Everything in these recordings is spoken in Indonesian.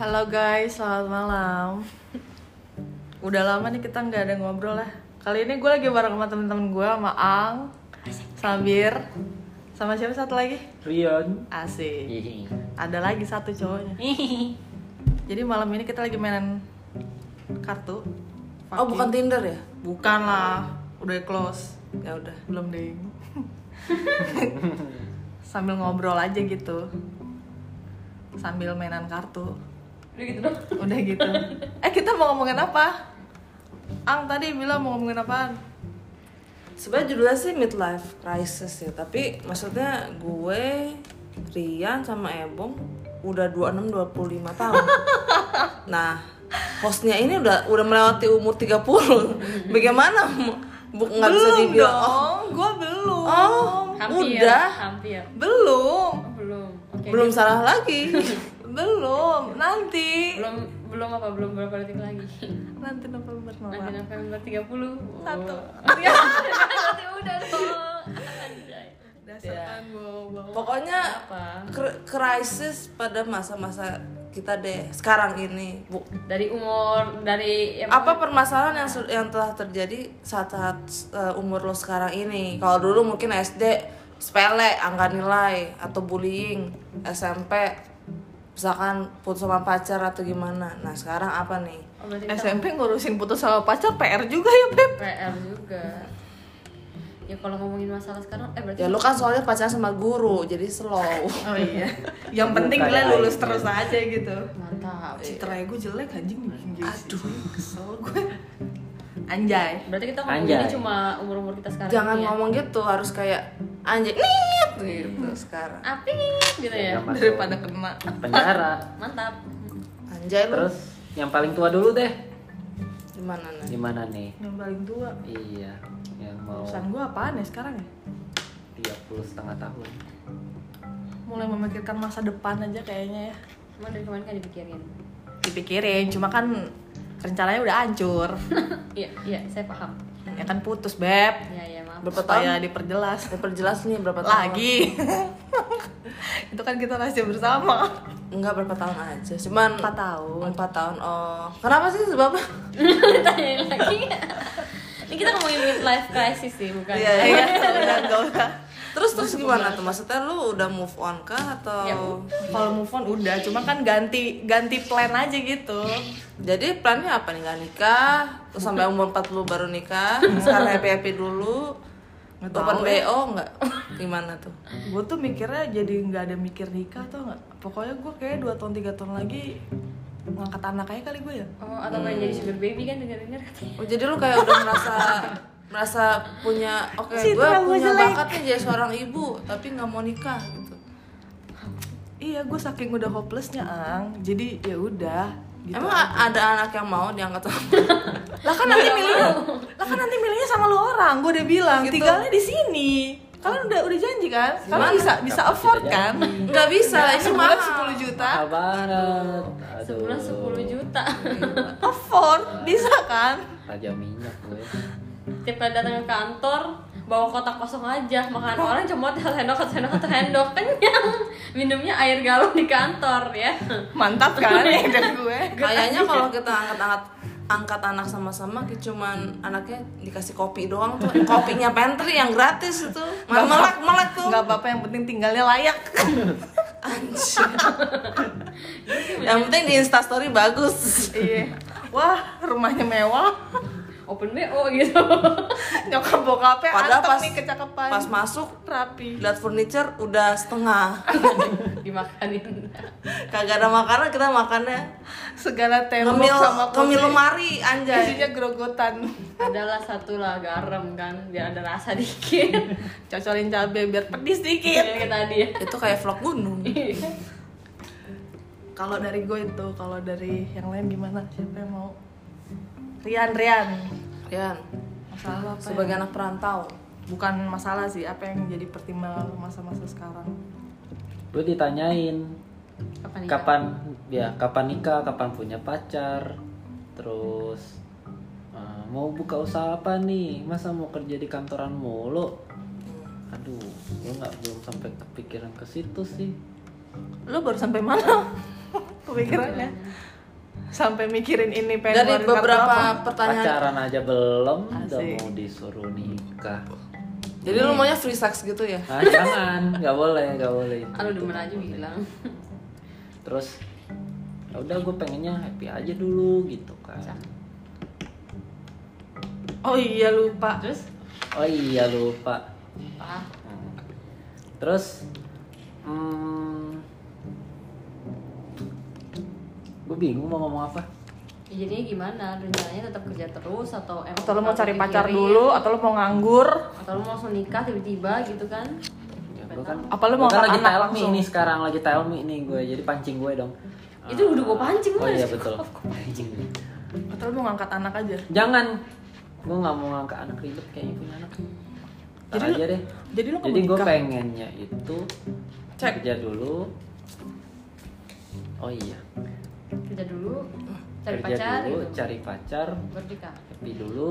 Halo guys, selamat malam. Udah lama nih kita nggak ada ngobrol lah. Kali ini gue lagi bareng sama temen-temen gue, sama Ang, Sambir, sama siapa satu lagi? Rian. Asik. Iya. Ada lagi satu cowoknya. Jadi malam ini kita lagi mainan kartu. Oh bukan Tinder ya? Bukan lah, udah close. Ya udah. Belum ding. Sambil ngobrol aja gitu. Sambil mainan kartu. Udah gitu dong. Udah gitu. Eh kita mau ngomongin apa? Ang tadi bilang mau ngomongin apaan? Sebenarnya judulnya sih midlife crisis ya, tapi maksudnya gue, Rian sama Ebong udah 26 25 tahun. nah, hostnya ini udah udah melewati umur 30. Bagaimana? Bu, nggak bisa belum dibilang. dong, gue belum. Oh, Hampir. udah. Hampir. Belum, Oh, belum. Oke. Belum salah lagi. belum. Nanti. Belum belum apa? Belum berapa detik lagi? Nanti November Nanti November. November 30. Oh. Satu. Berarti udah dong. Anjay. Dasarkan gue Pokoknya Apa? kr- krisis pada masa-masa kita deh sekarang ini. Bu, Dari umur dari ya, apa permasalahan yang su- yang telah terjadi saat-saat uh, umur lo sekarang ini kalau dulu mungkin SD sepele angka nilai atau bullying SMP misalkan putus sama pacar atau gimana nah sekarang apa nih oh, berarti kita SMP ngurusin putus sama pacar PR juga ya Beb PR juga. Ya kalau ngomongin masalah sekarang eh berarti ya lo kan soalnya pacaran sama guru jadi slow Oh iya Yang penting Bukan dia lulus lainnya. terus aja gitu iya. mantap. Citra gue jelek anjing bikin gengsi. kesel gue Anjay Berarti kita ngomonginnya Anjay. cuma umur-umur kita sekarang jangan ini ya. ngomong gitu harus kayak anjing "Nit," gitu sekarang Apik gitu ya. Yang masuk Daripada kena penjara. Mantap. anjay lo Terus yang paling tua dulu deh. gimana nih Gimana nih? Yang paling tua Iya, yang mau Urusan gue apaan ya sekarang ya 30 setengah tahun. Mulai memikirkan masa depan aja kayaknya ya Cuma dari kemarin kan dipikirin. Dipikirin cuma kan rencananya udah hancur Iya, iya, saya paham. Ya kan putus Beb Iya, iya, maaf. berapa Supaya tahun diperjelas diperjelas Ya, nih berapa tahun lagi itu kan kita rahasia bersama enggak berapa tahun aja cuman empat tahun empat tahun oh kenapa sih sebabnya Tanyain lagi. Ini kita ngomongin midlife crisis sih, bukan? Iya, iya udah gak usah Terus terus gimana tuh? Maksudnya lu udah move on kah atau Ya, kalau move on udah cuma kan ganti ganti plan aja gitu jadi plannya apa nih? Gak nikah, terus sampai umur 40 baru nikah, sekarang happy-happy dulu. Nggak Open tahu ya. BO enggak? Gimana tuh? gue tuh mikirnya jadi nggak ada mikir nikah tau nggak pokoknya gue kayak dua tahun tiga tahun lagi ngangkat anak aja kali gue ya Oh, atau pengen jadi sugar baby kan denger-denger Iya. katanya. Oh, jadi lu kayak udah merasa merasa punya oke Si gue terlalu punya jelek. bakat nih jadi seorang ibu tapi nggak mau nikah gitu. iya gue saking udah hopelessnya ang jadi ya udah gitu. Emang a- ada anak yang mau diangkat sama lah kan nanti milihnya lah kan nanti milihnya sama lu orang gue udah bilang Gitu. tinggalnya di sini kalian udah udah janji kan kalian bisa bisa Kapan afford kita kan nggak bisa itu sebulan mahal. 10 juta Mahal banget. Aduh. Sebulan 10 juta. afford bisa kan Raja minyak gue. Tiap kali datang ke kantor, bawa kotak kosong aja. Makan orang cuma tel sendok, tel sendok, tel sendok. Kenyang. Minumnya air galon di kantor ya. mantap kan ya Iya. gue Kayaknya kalau kita angkat-angkat angkat anak sama-sama kayak cuman anaknya dikasih kopi doang tuh kopinya pantry yang gratis itu Nggak melek melek tuh nggak apa-apa yang penting tinggalnya layak Anjir. yang penting di instastory bagus iya wah rumahnya mewah Open BO gitu. nyokap bokapnya Padahal anteng pas- nih kecakapan pas masuk rapi lihat furniture udah setengah Dimakanin. kagak ada makanan kita makannya segala tembok ngemil sama ngemil kursi, lemari anjay isinya gerogotan Adalah satu lah garam kan, biar ada rasa dikit. cocolin cabe biar pedis dikit Kayak tadi ya. itu kayak vlog gunung Iya. kalau dari gue itu kalau dari yang lain gimana siapa yang mau Rian Rian Rian masalah lu apa ya? sebagai anak perantau bukan masalah sih apa yang jadi pertimbangan lu masa-masa sekarang Gue ditanyain Kapan nikah? kapan ya kapan nikah, kapan punya pacar, terus eh, mau buka usaha apa nih? Masa mau kerja di kantoran mulu? Aduh, gue nggak belum sampai kepikiran ke situ sih. lu baru sampai mana pikirannya sampai mikirin ini pengen Dari ngeluarin kartu apa. beberapa pertanyaan. Pacaran aja belum, udah Asik. mau disuruh nikah. Jadi Iya. lu maunya free sex gitu ya? Nah, jangan, nggak boleh, nggak boleh. Aduh demen aja bilang Terus, ya udah gue pengennya happy aja dulu gitu kan. oh iya lupa Terus Oh iya lupa. ah, Hmm. Terus, hmm, gue bingung mau ngomong apa. ya jadinya gimana? Rencananya tetap kerja terus atau emang atau lu mau tetap cari pacar dipikirin? dulu atau lu mau nganggur Atau lu mau langsung nikah tiba-tiba gitu kan? Ya, gue kan, Apa lu mau gua kan lagi angkat anak tell me langsung? nih sekarang lagi tell me nih gue, jadi pancing gue dong. Itu udah gua pancing, Oh Mas. iya betul. Pancing. atau lu mau ngangkat anak aja Jangan. Gue nggak mau ngangkat anak ribet kayaknya punya anak. Ntar Jadi lu- aja deh. jadi lu nggak Jadi mau gue nikah? pengennya itu Cek. kerja dulu. Oh iya. Kerja dulu, cari kerja pacar dulu, gitu. cari pacar, Baru nikah. happy dulu.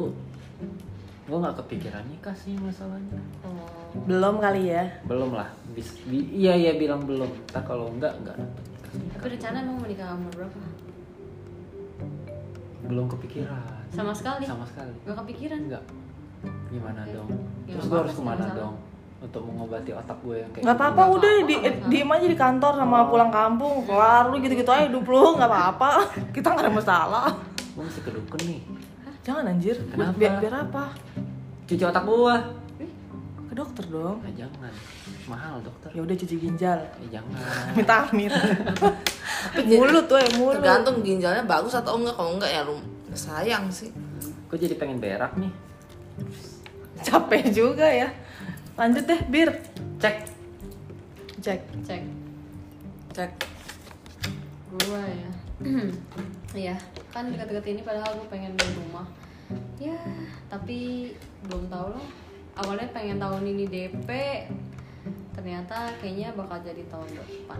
Gue nggak kepikiran nikah sih masalahnya. Oh. belum kali ya Belum lah. Bis, bi- iya iya bilang belum. Entah kalau enggak enggak dapet nikah. Tapi rencana emang menikah umur berapa? Belum kepikiran. Sama sekali. Sama sekali. Gak kepikiran. Enggak. Gimana Oke. dong? Ya, Terus gue nggak apa-apa harus sih, kemana nggak masalah. dong? Untuk mengobati otak gue yang kayak nggak gini. apa-apa udah di, Nggak apa-apa. diem aja di kantor sama pulang kampung keluar lu gitu-gitu aja hidup lu nggak apa-apa kita nggak ada masalah Gue masih kedukun nih. jangan anjir Kenapa? biar, biar apa Cuci otak gua. ke dokter dong Nah, jangan. Mahal dokter. ya udah cuci ginjal Eh, jangan. vitamin mulut tuh ya mulut Tergantung ginjalnya bagus atau enggak. Kalau enggak ya lu sayang sih. Gue jadi pengen berak nih. capek juga ya lanjut deh bir Cek. cek Cek. Cek. Gua ya. Iya, kan dekat-dekat ini padahal gue pengen beli rumah. Ya, tapi belum tahu loh. Awalnya pengen tahun ini DP, ternyata kayaknya bakal jadi tahun depan.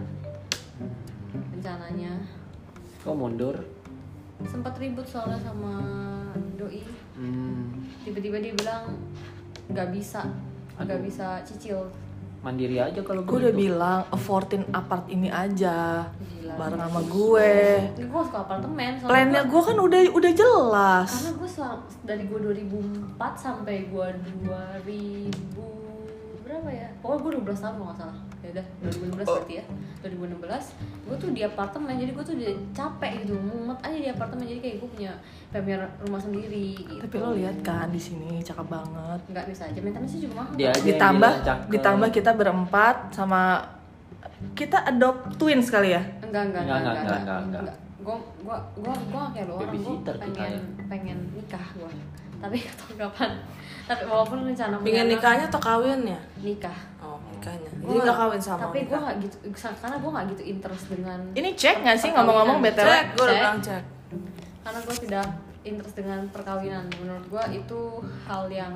Rencananya Kok mundur? sempat ribut soalnya sama doi. Hmm, Tiba-tiba dia bilang nggak bisa, nggak Aduh. bisa cicil. mandiri aja kalau gue udah bilang affordin apart ini aja Gila. bareng sama gue Gue suka apartemen. soalnya plannya gua- gue kan udah udah jelas karena gue selama dari gue 2004 sampai gue 2000 berapa ya pokoknya gue 12 tahun kalau nggak salah ya udah 2016 Oh. berarti ya 2016 gue tuh di apartemen jadi gue tuh udah capek gitu mumet aja di apartemen jadi kayak gue punya kayak punya rumah sendiri gitu. tapi lo lihat kan di sini cakep banget nggak bisa aja maintenance juga mahal kan? Dia aja yang ditambah dibilang cakep. ditambah kita berempat sama kita adopt twins kali ya enggak enggak Enggak, enggak enggak enggak, enggak enggak, enggak. gue gue gue gue kayak lo orang gue Babysitter kita pengen ya. pengen nikah gue tapi nggak tahu kapan tapi walaupun rencana punya Pengen anak, nikahnya atau kawinnya? ya? nikah Oh, nikahnya. Jadi Hmm. Gua- enggak kawin sama. tapi gue nikah. gak gitu karena gue gak gitu interest dengan ini cek nggak sih ngomong-ngomong btw Perkawinan. cek, gue udah Cek. bilang cek. karena gue tidak interest dengan perkawinan menurut gue itu hal yang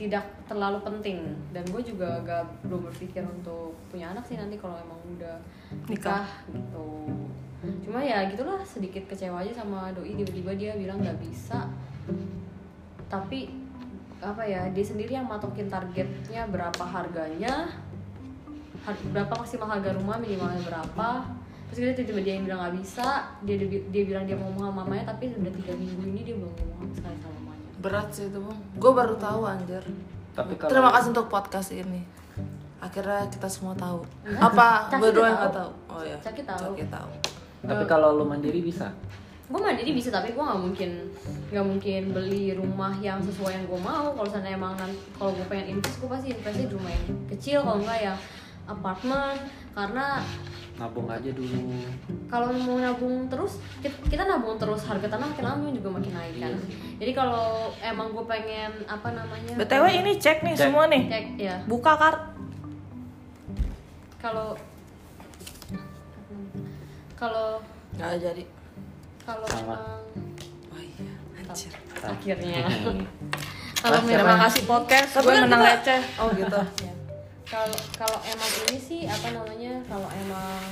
tidak terlalu penting dan gue juga agak belum berpikir untuk punya anak sih nanti kalau emang udah nikah, gitu cuma ya gitulah sedikit kecewa aja sama doi tiba-tiba dia bilang nggak bisa tapi apa ya dia sendiri yang matokin targetnya berapa harganya har- berapa maksimal harga rumah minimalnya berapa terus dia tiba-tiba dia yang bilang nggak bisa dia dia bilang dia mau ngomong sama mamanya tapi udah tiga minggu ini dia belum ngomong sama sekali sama mamanya Berat sih itu, Bang. Gue baru tahu anjir. Tapi kalau Terima kasih untuk podcast ini. Akhirnya kita semua tahu. Apa Caki berdua udah yang nggak tahu. tahu? Oh iya. Caki tahu. Caki tahu. eh, Tapi kalau lu mandiri bisa. gue mandiri bisa tapi gue nggak mungkin nggak mungkin beli rumah yang sesuai yang gue mau kalau sana emang nanti kalau gue pengen invest gue pasti investnya di rumah yang kecil kalau enggak ya apartemen karena Nabung aja dulu. kalau mau nabung terus kita, kita nabung terus harga tanah makin lama juga makin naik kan Iya sih. jadi kalau emang gue pengen apa namanya btw ini cek nih Cek. semua nih cek ya buka kart kalau kalau Enggak jadi. kalau Sama. emang Oh iya, anjir. akhirnya kalau terima kasih podcast gue menang receh Oh gitu. Iya. kalau kalau emang ini sih apa namanya kalau emang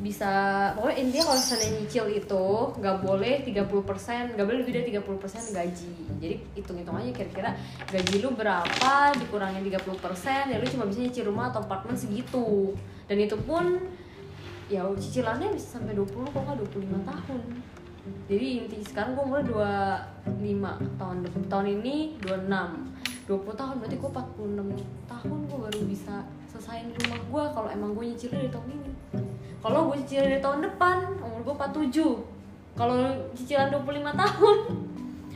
bisa pokoknya intinya kalau misalnya nyicil itu nggak boleh 30% nggak boleh lebih dari 30% gaji jadi hitung-hitung aja kira-kira gaji lu berapa dikurangin 30% ya lu cuma bisa nyicil rumah atau apartemen segitu dan itu pun ya cicilannya bisa sampai 20 kok nggak 25 tahun jadi inti sekarang gue mulai 25 tahun depan tahun ini 26 20 tahun berarti gue 46 tahun gue baru bisa selesain rumah gue kalau emang gue nyicilnya dari tahun ini kalau gue cicilan dari tahun depan umur gue 47 kalau cicilan 25 tahun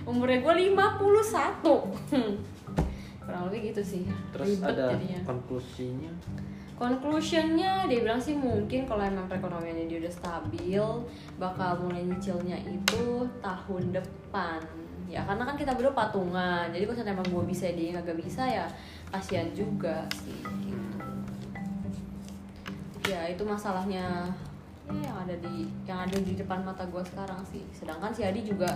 umurnya gue 51 kurang lebih gitu sih Terus Ribet ada jadinya. konklusinya Conclusionnya dia bilang sih mungkin kalau emang perekonomiannya dia udah stabil bakal mulai nyicilnya itu tahun depan ya karena kan kita berdua patungan jadi kalau emang gue bisa dia nggak bisa ya kasihan juga sih gitu ya itu masalahnya ya, yang ada di yang ada di depan mata gue sekarang sih sedangkan si Adi juga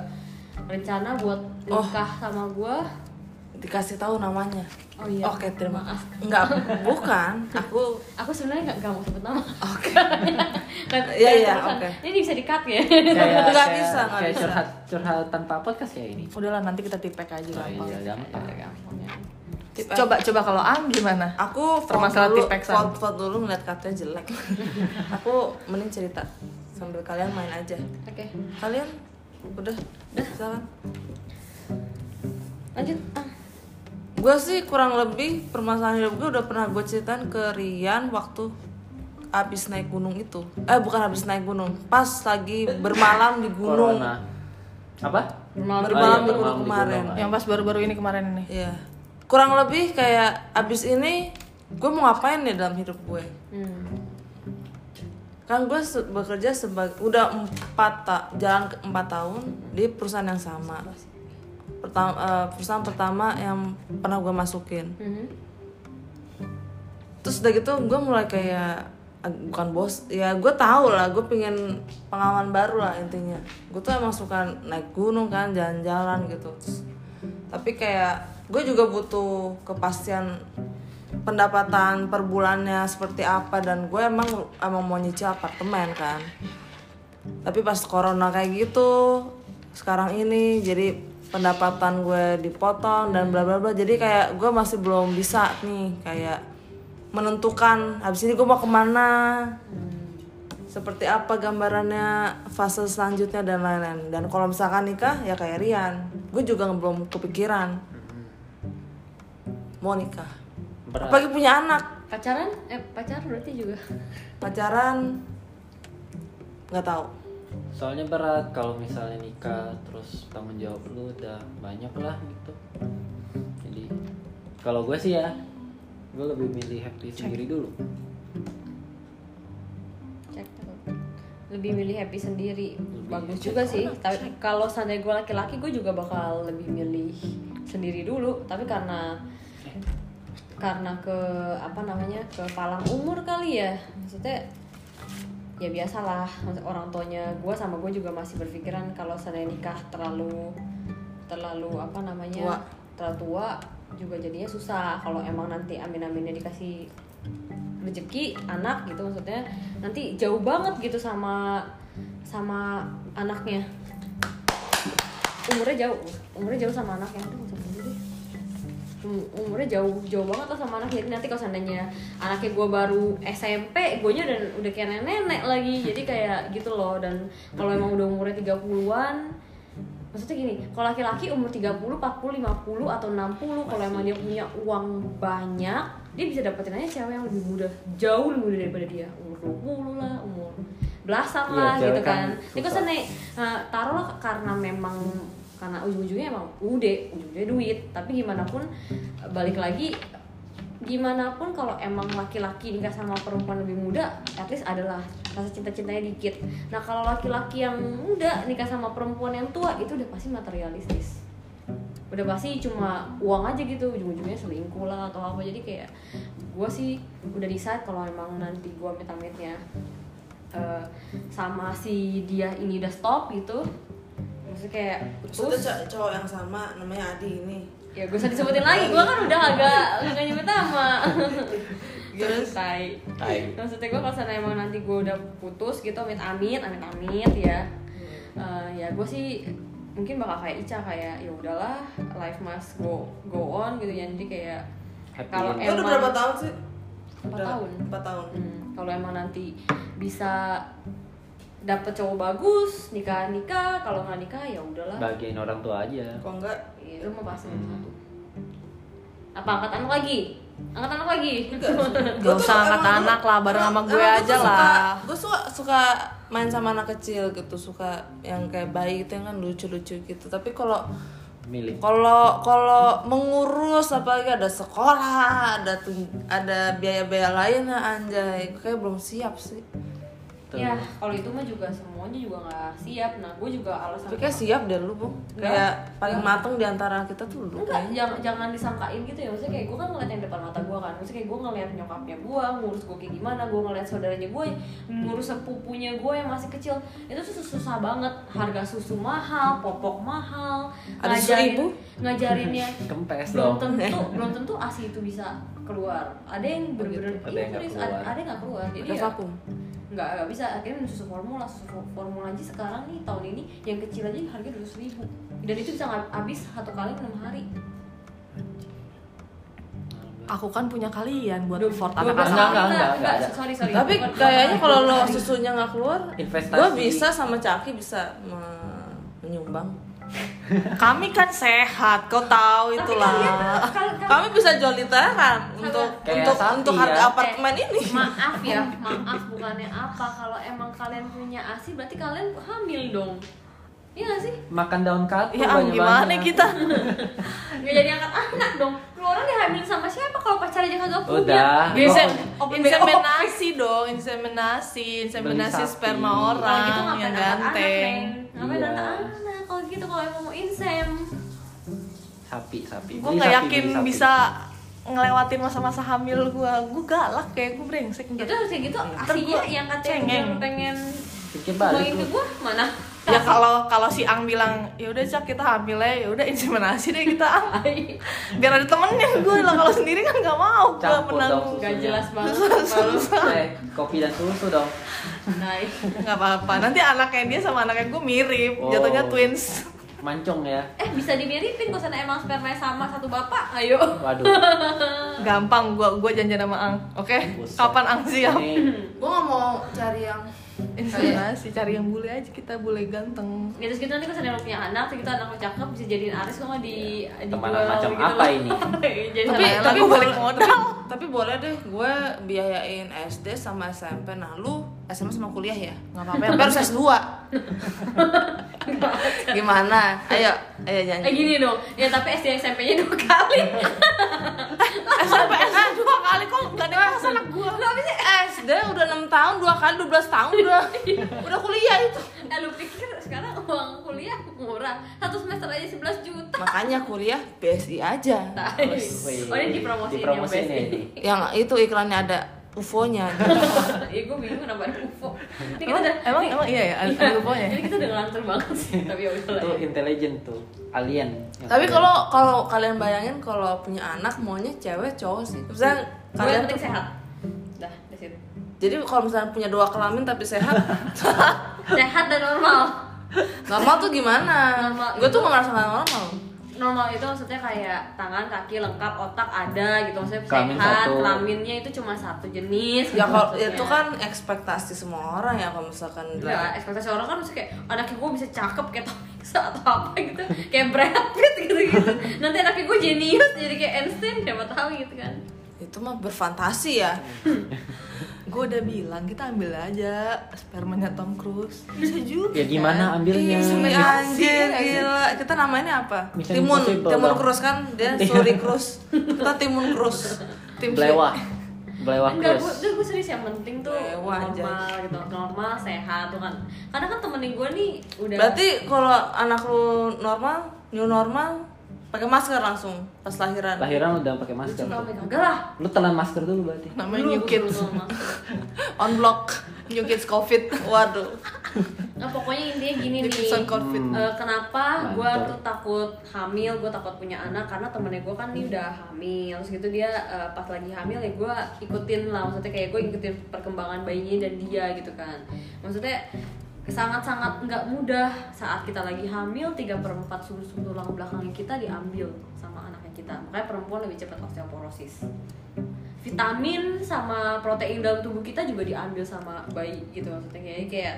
rencana buat Oh. nikah sama gue dikasih tahu namanya oh iya oke terima maaf kasih nggak bukan aku aku sebenarnya nggak nggak mau sebut nama oke Kan- Iya, kan iya, terusan. oke. Ini bisa di cut ya. kayak Nggak kayak- bisa, nggak kayak bisa. curhat curhat tanpa podcast ya ini Udahlah nanti kita tipek aja Oh, gampang. iya, gampang. Tip- Coba coba kalau Ang gimana? aku Permasalahan vote dulu tipeksan. vote, vote dulu ngeliat katanya jelek aku mending cerita sambil kalian main aja Oke. kalian udah udah silakan Lanjut. Ah. gue sih kurang lebih permasalahan hidup gue udah pernah gue ceritain ke Rian waktu abis naik gunung itu eh bukan abis naik gunung pas lagi bermalam di gunung corona apa Bermalam- Oh, Bermalam iya, di gunung kemarin. Yang pas baru-baru ini kemarin ini. Iya. kurang lebih kayak abis ini gue mau ngapain ya dalam hidup gue Hmm. kan gue se- bekerja sebagai udah empat ta- jalan ke empat tahun di perusahaan yang sama pertama perusahaan pertama yang pernah gue masukin Mhm. terus udah gitu gue mulai kayak ah, bukan bos ya gue tahu lah gue pengen pengalaman baru lah intinya gue tuh emang suka naik gunung kan jalan-jalan gitu Terus, tapi kayak gue juga butuh kepastian pendapatan per bulannya seperti apa dan gue emang emang mau nyicil apartemen kan tapi pas corona kayak gitu sekarang ini jadi pendapatan gue dipotong dan bla bla bla jadi kayak gue masih belum bisa nih kayak menentukan habis ini gue mau kemana seperti apa gambarannya fase selanjutnya dan lain-lain dan kalau misalkan nikah ya kayak Rian gue juga belum kepikiran mau nikah Berat. apalagi punya anak Pacaran? Eh pacar berarti juga. pacaran nggak tahu soalnya berat kalau misalnya nikah terus tanggung jawab lu udah banyak lah gitu jadi kalau gue sih ya gue lebih milih happy sendiri dulu Cek. Lebih milih happy sendiri. Lebih Bagus cek. juga sih. Tapi kalau seandainya gue laki-laki gue juga bakal lebih milih sendiri dulu. Tapi karena karena ke apa namanya ke palang umur kali ya maksudnya ya biasalah Maksud- orang tuanya gue sama gue juga masih berpikiran kalau saya nikah terlalu terlalu apa namanya Tua. terlalu tua juga jadinya susah kalau emang nanti amin aminnya dikasih rezeki anak gitu maksudnya nanti jauh banget gitu sama sama anaknya umurnya jauh umurnya jauh sama anaknya aduh maksud gue deh Um- umurnya jauh jauh banget lah sama anaknya jadi nanti kalau seandainya anaknya gue baru SMP gue nya udah udah kayak nenek nenek lagi jadi kayak gitu loh dan kalau emang udah umurnya 30-an maksudnya gini kalau laki-laki umur 30, 40, 50 atau 60 kalau emang dia punya uang banyak dia bisa dapetin aja cewek yang lebih muda jauh lebih muda daripada dia umur 20 lah umur belasan Iya, lah cewek gitu kan kan, Jadi kalau susah. seandainya Nah, taruhlah karena memang karena ujung-ujungnya emang udah ujungnya duit tapi gimana pun balik lagi gimana pun kalau emang laki-laki nikah sama perempuan lebih muda at least adalah rasa cinta-cintanya dikit nah kalau laki-laki yang muda nikah sama perempuan yang tua itu udah pasti materialistis udah pasti cuma uang aja gitu ujung-ujungnya selingkuh lah atau apa jadi kayak gue sih udah decide kalau emang nanti gue amit-amitnya eh, sama si dia ini udah stop gitu maksudnya kayak putus cowok yang sama namanya Adi ini ya gue usah disebutin lagi gue kan udah agak agak nyebut nama terus tai Tai. maksudnya gue kalau sana emang nanti gue udah putus gitu amit amit amit amit ya Eh, ya gue sih mungkin bakal kayak Ica kayak ya udahlah life must go go on gitu ya jadi kayak Happy kalau ending. emang tahun sih empat tahun Empat tahun. Hmm, kalau emang nanti bisa dapet cowok bagus nikah nikah kalau nggak nikah ya udahlah bagian orang tua aja Kok enggak? itu mah pasti Hmm. satu apa angkat anak lagi angkat anak lagi Gak usah angkat anak lah, bareng sama gue aja lah. Gue suka suka main sama anak kecil gitu, suka yang kayak bayi gitu yang kan lucu-lucu gitu. Tapi kalau milih kalau kalau mengurus apalagi ada sekolah, ada tun- ada biaya-biaya lain ya anjay. Kayak belum siap sih. ya kalau itu mah juga semuanya juga nggak siap nah gue juga alasan Tapi kayak siap deh lu, Bung. Kayak paling mateng di antara kita tuh lu. enggak jangan jangan disangkain gitu ya maksudnya kayak gue kan ngeliat yang depan mata gue kan maksudnya kayak gue ngeliat nyokapnya gue ngurus gue kayak gimana gue ngeliat saudaranya gue ngurus sepupunya gue yang masih kecil itu tuh susah banget harga susu mahal popok mahal Ada seribu? ngajarinnya kempes belum dong tentu belum tentu asi itu bisa keluar ada yang bener-bener Oh gitu, Ada yang iya, nggak serius, keluar. ada, ada yang nggak keluar jadi Udah ya, vakum. nggak nggak bisa akhirnya minum susu formula susu for- formula aja sekarang nih tahun ini yang kecil aja harga dua ribu dan itu bisa ngab- habis satu kali enam hari Aku kan punya kalian buat effort belas anak-anak. Ah, Enggak, enggak, enggak, enggak ada. sorry sorry Tapi Bukan- kayaknya bukan- kalau lo bukan- susunya nggak keluar, Investasi. gue bisa sama Caki bisa me- menyumbang. Kami kan sehat, kau tahu Tapi itulah. kalian kan- kal- kal- Kami bisa jual literan untuk Kayak untuk sapi untuk ya. harga Eh, apartemen Eh, ini. maaf ya maaf bukannya apa kalau emang kalian punya asi berarti kalian hamil dong iya nggak sih makan daun katu Ya am, gimana banyak-banyak. kita? nggak jadi angkat anak dong lu orang dihamilin sama siapa kalau pacar aja kagak Udah. punya Insem, Oh, oh, inseminasi dong, inseminasi, inseminasi Beli sapi. sperma kalau gitu orang ngapain yang angkat ganteng. anak neng ngapain Iya. angkat anak kalau gitu kalau emang mau insem sapi sapi Gue Beli nggak sapi, yakin beli sapi. bisa ngelewatin masa-masa hamil gue. Gue galak kayak gue brengsek gitu. itu harus kayak gitu gua asinya yang katanya cengeng. bilang pengen pikir balik ngomongin ke lu. gua mana Ya kalau kalau si Ang bilang ya udah cak kita hamil ya, ya udah inseminasi deh kita Ang. Biar ada temennya gue lah kalau sendiri kan nggak mau gue Campur menanggung. dong. gak jelas banget eh kopi dan susu dong naik nggak apa-apa nanti anaknya dia sama anaknya gue mirip Oh. jatuhnya twins mancung ya eh bisa dimiripin kalau sana emang sperma sama satu bapak ayo waduh gampang gue gue janjian sama ang oke Buset. kapan ang siap ini Gue nggak mau cari yang inspirasi cari yang bule aja kita bule ganteng ya terus gitu nanti kalau sana lu punya anak terus gitu anak lu cakep bisa jadiin aris kok nggak di dijual Iya. Temanan macam gitu apa loh. ini? jadi Tapi- sama- tapi boleh balik modal. tapi, tapi boleh deh gue biayain SD sama SMP nah lu SMA sama kuliah ya nggak apa-apa tapi harus S2 gimana ayo ayo janji eh gini dong ya tapi SD SMP nya dua kali SMP SMA dua kali kok nggak ada yang anak gue lu abisnya SD Eh, udah 6 tahun dua kali 12 tahun udah udah kuliah itu eh lu pikir sekarang uang kuliah murah satu semester aja 11 juta makanya kuliah BSI aja Tai. oh ini dipromosiin, dipromosiin ya yang best ini yang itu iklannya ada UFO-nya ya gue bingung kenapa ada UFO ini kita emang, udah emang emang iya ya ada luponya ini kita udah ngelantur banget sih tapi ya udah lah itu ya. intelijen Iya. tuh alien Ya Yang tapi alien. kalau kalau kalian bayangin kalau punya anak maunya cewek cowok sih misalnya gue kalian yang penting tuh- Iya. sehat dah di situ jadi kalau misalnya punya dua kelamin tapi sehat sehat dan normal normal tuh gimana Normal. gue tuh nggak merasa nggak normal normal itu maksudnya kayak tangan kaki lengkap otak ada gitu maksudnya Kelamin sehat satu. kelaminnya itu cuma satu jenis ya gitu kalau maksudnya. itu kan ekspektasi semua orang ya kalau misalkan Ya, ekspektasi orang kan maksudnya kayak anaknya gue bisa cakep kayak Tom Hanks atau apa gitu Kayak Brad Pitt gitu-gitu Nanti anaknya gue jenius jadi kayak Einstein, siapa tahu gitu kan itu mah berfantasi ya gue udah bilang kita ambil aja spermanya Tom Cruise bisa juga Iya. ya gimana ambilnya Ih, Iya, Ya, anjir iya, iya. gila kita namanya apa Mission timun Impossible Iya. timun dong. krus kan dia suri krus kita timun krus tim belewah belewah Enggak, gue, terus gue serius yang penting tuh Mewah aja. normal gitu Normal, sehat tuh kan Karena kan temenin gue nih udah berarti kalau anak lu normal new normal pakai masker langsung pas lahiran lahiran udah pakai masker Cuma tuh. kagak lah Iya, lu telan masker dulu berarti namanya Lu New Kids dulu sama masker. on block New Kids COVID waduh Nah pokoknya intinya gini New nih Kids on COVID Eh, kenapa gue Mantap. tuh takut hamil, gue takut punya anak karena temennya gue kan nih udah hamil, terus gitu dia eh, pas lagi hamil ya gue ikutin lah, maksudnya kayak gue ikutin perkembangan bayinya dan dia gitu kan, maksudnya sangat-sangat nggak mudah saat kita lagi hamil 3 per 4 sumber-sumber tulang belakangnya kita diambil sama anaknya kita makanya perempuan lebih cepat osteoporosis vitamin sama protein dalam tubuh kita juga diambil sama bayi gitu maksudnya kayak kayak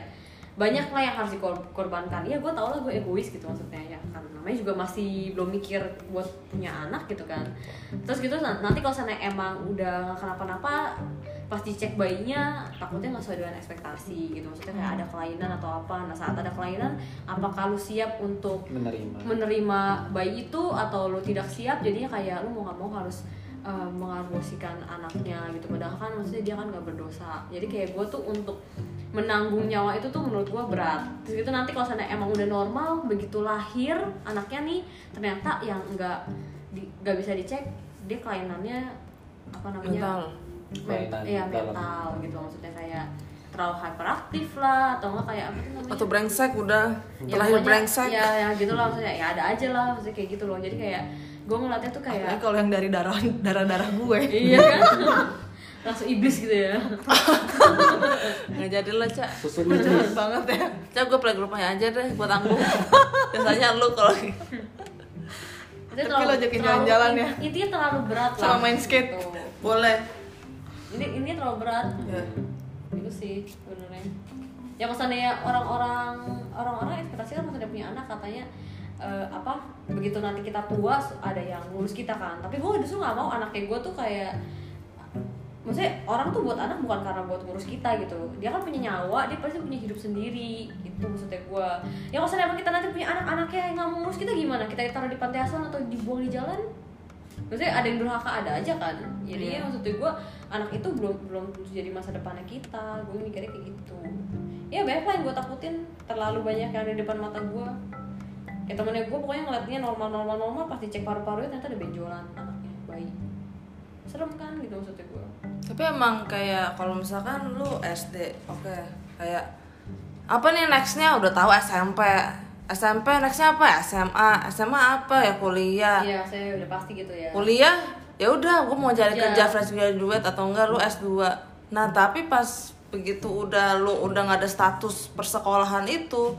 banyak lah yang harus dikorbankan ya gue tau lah gue egois gitu maksudnya ya kan namanya juga masih belum mikir buat punya anak gitu kan terus gitu nan- nanti kalau sana emang udah nggak kenapa-napa pas dicek bayinya takutnya nggak sesuai dengan ekspektasi gitu maksudnya kayak ada kelainan atau apa nah saat ada kelainan apakah lu siap untuk menerima menerima bayi itu atau lu tidak siap jadinya kayak lu mau nggak mau harus eh, mengabosikan anaknya gitu padahal kan maksudnya dia kan nggak berdosa jadi kayak gue tuh untuk menanggung nyawa itu tuh menurut gue berat terus gitu nanti kalau sana emang udah normal begitu lahir anaknya nih ternyata yang nggak di- nggak bisa dicek dia kelainannya apa namanya mental Kelainan mental, iya, dalam. mental gitu maksudnya kayak terlalu hyperaktif lah atau enggak kayak apa tuh namanya atau brengsek udah Iya. Ya, terlahir pokoknya- brengsek ya ya gitu lah maksudnya ya ada aja lah maksudnya kayak gitu loh jadi kayak gue ngeliatnya tuh kayak Apalagi kalau yang dari darah darah darah gue iya kan langsung iblis gitu ya nggak jadi lah cak susunya Bener banget ya cak gue playgroupnya aja deh buat tanggung biasanya lu kalau Tapi Itu terlalu- lo ajakin terlalu- jalan-jalan ya? intinya terlalu berat lah Iya. sama main skate Oh. gitu. boleh ini ini terlalu berat Iya. itu sih sebenarnya ya kesannya orang-orang orang-orang ekspektasi kan maksudnya punya anak katanya eh, apa begitu nanti kita tua ada yang ngurus kita kan tapi gue justru nggak mau anaknya gue tuh kayak maksudnya orang tuh buat anak bukan karena buat ngurus kita gitu dia kan punya nyawa dia pasti punya hidup sendiri gitu maksudnya gue ya kalau misalnya emang kita nanti punya anak-anaknya yang nggak mau ngurus kita gimana kita taruh di panti asuhan atau dibuang di jalan maksudnya ada yang durhaka ada aja kan jadi ya maksudnya gue anak itu belum belum jadi masa depannya kita gue mikirnya kayak gitu ya banyak lah yang gue takutin terlalu banyak yang ada di depan mata gue ya temennya gue pokoknya ngeliatnya normal normal normal pas dicek paru-parunya ternyata ada benjolan anaknya bayi serem kan gitu maksudnya gue tapi emang kayak kalau misalkan lu SD oke kayak apa nih nextnya udah tahu SMP SMP nextnya apa SMA SMA apa ya kuliah Iya, saya udah pasti gitu ya. kuliah ya udah gue mau cari Kerja. kerja fresh graduate atau enggak lu S2 nah tapi pas begitu udah lu udah nggak ada status persekolahan itu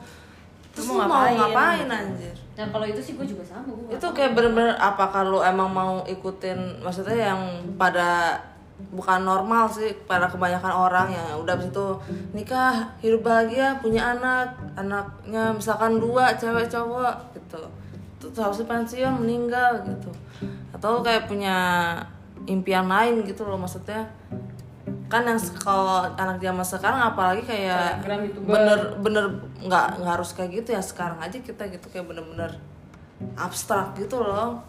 terus lu mau ngapain, anjir Nah, kalau itu sih gue juga sama, gue itu kayak bener-bener apakah lu emang mau ikutin maksudnya yang pada bukan normal sih pada kebanyakan orang yang udah abis itu nikah hidup bahagia punya anak anaknya misalkan dua cewek cowok gitu terus harusnya pensiun meninggal gitu atau kayak punya impian lain gitu loh maksudnya kan yang se- kalau anak zaman sekarang apalagi kayak Instagram, YouTuber. bener bener nggak nggak harus kayak gitu ya sekarang aja kita gitu kayak bener-bener abstrak gitu loh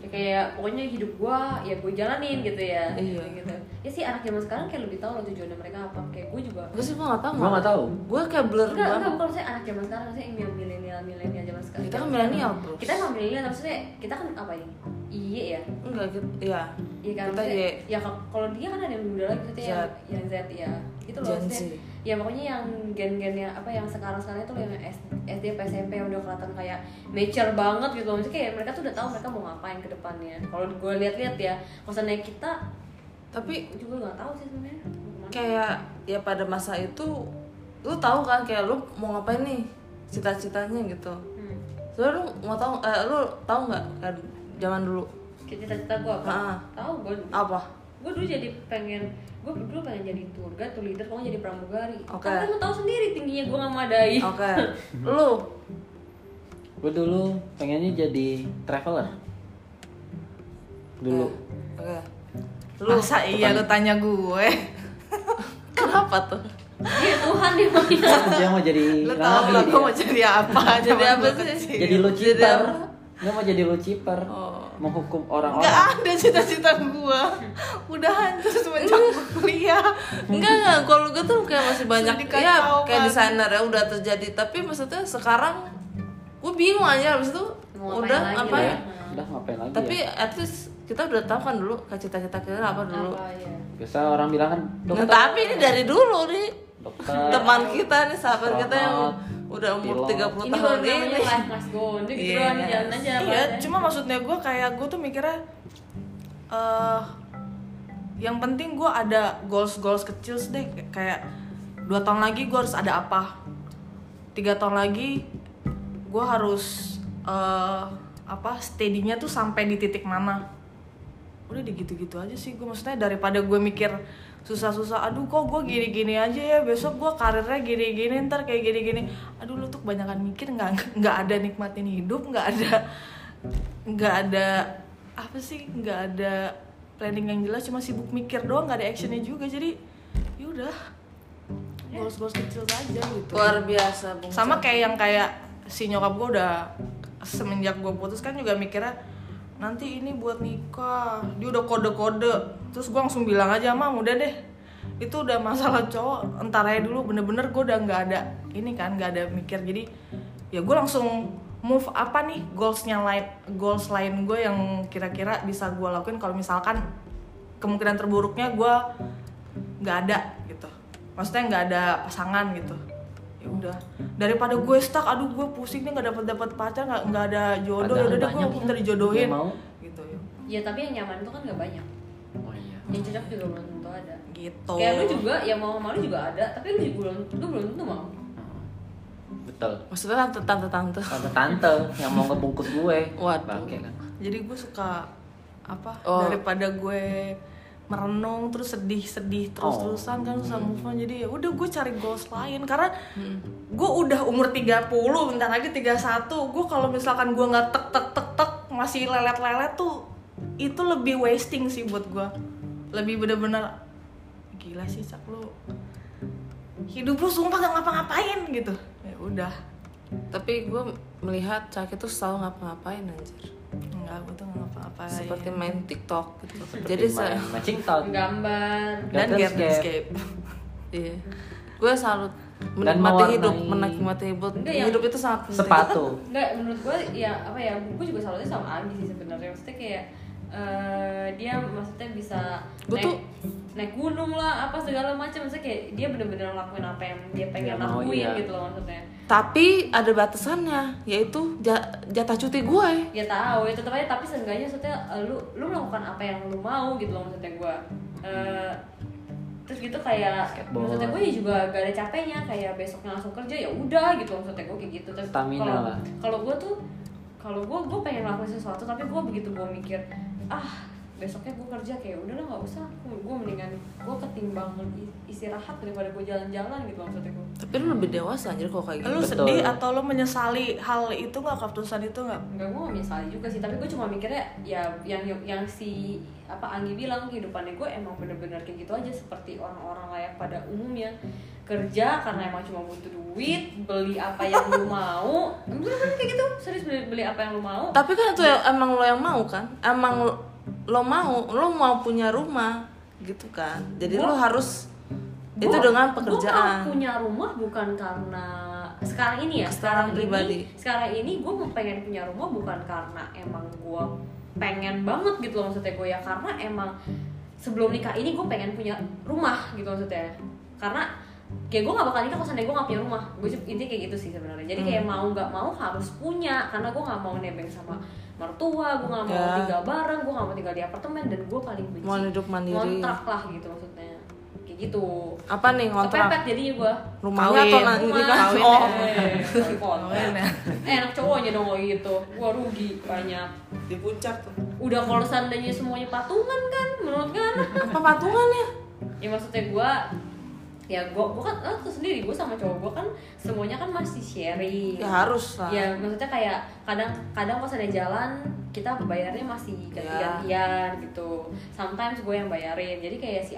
ya kayak pokoknya hidup gue ya gue jalanin gitu ya. Iya. Gitu. Ya sih anak zaman sekarang kayak lebih tahu loh tujuannya mereka apa. Kayak gue juga. gue sih gue nggak tahu Gua nggak tahu. gue kayak blur Enggak, enggak, banget bukan saya anak zaman sekarang, saya yang milenial, milenial zaman sekarang. Kita kan milenial, bro. Kita emang milenial, maksudnya kita kan apa ini? Iya ya. enggak gitu ya Iya kan, kita maksudnya, ya ya kalau- kalau dia kan ada yang muda lagi, maksudnya yang, yang Z ya Gitu loh, Gen maksudnya Z. Ya pokoknya yang gen-gennya, apa yang sekarang-sekarang itu loh, yang S- SD, apa SMP yang udah kelihatan kayak mature banget gitu loh Maksudnya kayak mereka tuh udah tahu mereka mau ngapain ke depannya Kalau gue lihat-lihat ya, maksudnya kita ya tapi juga nggak tahu sih sebenarnya mau kemana. kayak ya pada masa itu lu tahu kan kayak lu mau ngapain nih cita-citanya gitu Hmm. soalnya lu mau tahu eh, lu tahu nggak kayak zaman dulu Kayak Cita-cita gue apa? Ah. Tahu gue apa gue dulu jadi pengen gue dulu pengen jadi tour guide tour leader kalau nggak jadi pramugari Oke. kan lu tahu sendiri tingginya gue nggak madai oke lu gue dulu pengennya jadi traveler dulu oke lu masa iya lu tanya gue Iya. kenapa tuh dia Iya, Tuhan dia panggil dia mau jadi lu tau nabi lah dia. gue mau jadi apa Jadi apa sih? jadi lucifer dia mau jadi lucifer menghukum Gak orang-orang ada cita-cita gue Udah hancur semenjak gua kuliah Enggak enggak, kalau gue tuh kayak masih banyak Sedih ya kacauan. kayak desainer ya udah terjadi, tapi maksudnya sekarang gue bingung aja habis itu Mau ngapain udah lagi apa ya? ya? Iya. udah ngapain lagi Tapi ya? at least kita udah tahu kan dulu kayak cita-cita kita apa dulu. apa ya biasa orang bilang kan Nah, dokter tapi ini dari dulu nih Eh, dokter teman kita nih sahabat kita yang udah umur Pilot. 30 ini tahun baru ini. namanya live class gue dia gitu doang dia jalan aja apa Iya ada. cuma maksudnya gue kayak gue tuh mikirnya eh Yang penting gue ada goals-goals kecil sih deh Kayak dua tahun lagi gue harus ada apa tiga tahun lagi gue harus eh apa steady-nya tuh sampai di titik mana udah digitu-gitu aja sih gue maksudnya daripada gue mikir susah-susah aduh kok gue gini-gini aja ya besok gue karirnya gini-gini ntar kayak gini-gini aduh lu tuh kebanyakan mikir nggak nggak ada nikmatin hidup nggak ada nggak ada apa sih nggak ada planning yang jelas cuma sibuk mikir doang nggak ada actionnya juga jadi yaudah goals-goals kecil aja gitu luar biasa Bung sama kayak yang kayak si nyokap gue udah semenjak gue putus kan juga mikirnya nanti ini buat nikah dia udah kode-kode terus gue langsung bilang aja mam udah deh itu udah masalah cowok entar aja dulu bener-bener gue udah nggak ada ini kan nggak ada mikir jadi ya gue langsung move apa nih goalsnya lain goals lain gue yang kira-kira bisa gue lakuin kalau misalkan kemungkinan terburuknya gue nggak ada gitu maksudnya nggak ada pasangan gitu ya udah daripada gue stuck aduh gue pusing nih nggak dapat dapat pacar nggak nggak ada jodoh Padahal udah deh gue banyak minta ya, dijodohin yang mau. gitu ya ya tapi yang nyaman itu kan nggak banyak oh iya yang cocok juga belum tentu ada gitu kayak lu juga yang mau sama lu juga ada tapi lu juga belum lu belum tentu mau Heeh. betul maksudnya kan tante tante tante tante tante yang mau ngebungkus gue Waduh. Bangke kan jadi gue suka apa Oh. daripada gue merenung terus sedih sedih terus Oh. terusan kan susah move on jadi ya udah gue cari goals lain karena Hmm. gue udah umur 30 bentar lagi 31 gue kalau misalkan gue nggak tek tek tek tek masih lelet lelet tuh itu lebih wasting sih buat gue lebih bener-bener gila sih cak lu hidup lu sumpah gak ngapa-ngapain gitu ya udah tapi gue melihat cak itu selalu ngapa-ngapain anjir Iya. nggak gue tuh nggak ngapa-ngapain seperti main tiktok gitu Seperti jadi saya main matching tot gambar dan Gatel get escape. iya gue selalu Dan menikmati hidup mewarnai. menikmati hidup Enggak, yang- hidup itu sangat gitu. penting sepatu Nggak, menurut gue ya apa ya gue juga salutnya sama Andi sih sebenarnya maksudnya kayak eh, dia maksudnya bisa Gua naik, tuh- naik gunung lah apa segala macam maksudnya kayak dia bener-bener ngelakuin apa yang dia pengen Dia mau, lakuin iya. gitu loh maksudnya tapi ada batasannya yaitu ja- jatah cuti gue ya tahu ya tetap aja tapi seenggaknya maksudnya eh, lu lu melakukan apa yang lu mau gitu loh maksudnya gue terus gitu kayak Skateboard. maksudnya gue ya juga gak ada capeknya kayak besoknya langsung kerja ya udah gitu loh, maksudnya gue kayak gitu terus Stamina kalau lah. kalau gue tuh kalau gue gue pengen ngelakuin sesuatu tapi gue begitu gue mikir ah besoknya gue kerja kayak udah lah nggak usah gue mendingan gue ketimbang i- istirahat daripada gue jalan-jalan gitu loh, maksudnya gue tapi lu lebih dewasa anjir kalau kayak gitu lu Betul. sedih atau lu menyesali hal itu nggak keputusan itu nggak Enggak, gue gak menyesali juga sih, tapi gue cuma mikirnya ya yang yang si apa Anggi bilang kehidupannya gue emang bener-bener kayak gitu aja seperti orang-orang layak pada umumnya kerja karena emang cuma butuh duit beli apa yang lu mau bener kan kayak gitu serius beli, beli apa yang lu mau tapi kan itu ya- emang lo yang mau kan emang lo- lo mau lo mau punya rumah gitu kan jadi lo harus itu Gua- dengan gua mau pekerjaan punya rumah bukan karena sekarang ini ya Sekarang pribadi. ini, sekarang ini gue mau pengen punya rumah bukan karena emang gue pengen banget gitu loh maksudnya gue ya karena emang sebelum nikah ini gue pengen punya rumah gitu maksudnya karena kayak gue gak bakal nikah kalau seandainya gue gak punya rumah gue intinya kayak gitu sih sebenarnya jadi Hmm. kayak mau nggak mau harus punya karena gue gak mau nebeng sama mertua gue gak mau Ya. tinggal bareng gue gak mau tinggal di apartemen dan gue paling benci Mau hidup mandiri. ngontrak lah gitu maksudnya kayak gitu apa nih Kepepet ngontrak jadinya gua rumahnya atau Kawin. nanti Rumah, nikah Kawin, oh Eh, kali potong. Kawin ya. Eh, Enak cowoknya dong kalau gitu Gua rugi banyak di puncak tuh Udah kalau seandainya semuanya patungan kan Menurut kan apa patungannya Ya maksudnya gua Ya gua, gua kan lo tuh sendiri Gua sama cowok gua kan Semuanya kan masih sharing ya harus lah Ya maksudnya kayak kadang kadang pas ada jalan kita bayarnya masih ganti-gantian gitu. Sometimes gue yang bayarin. Jadi kayak si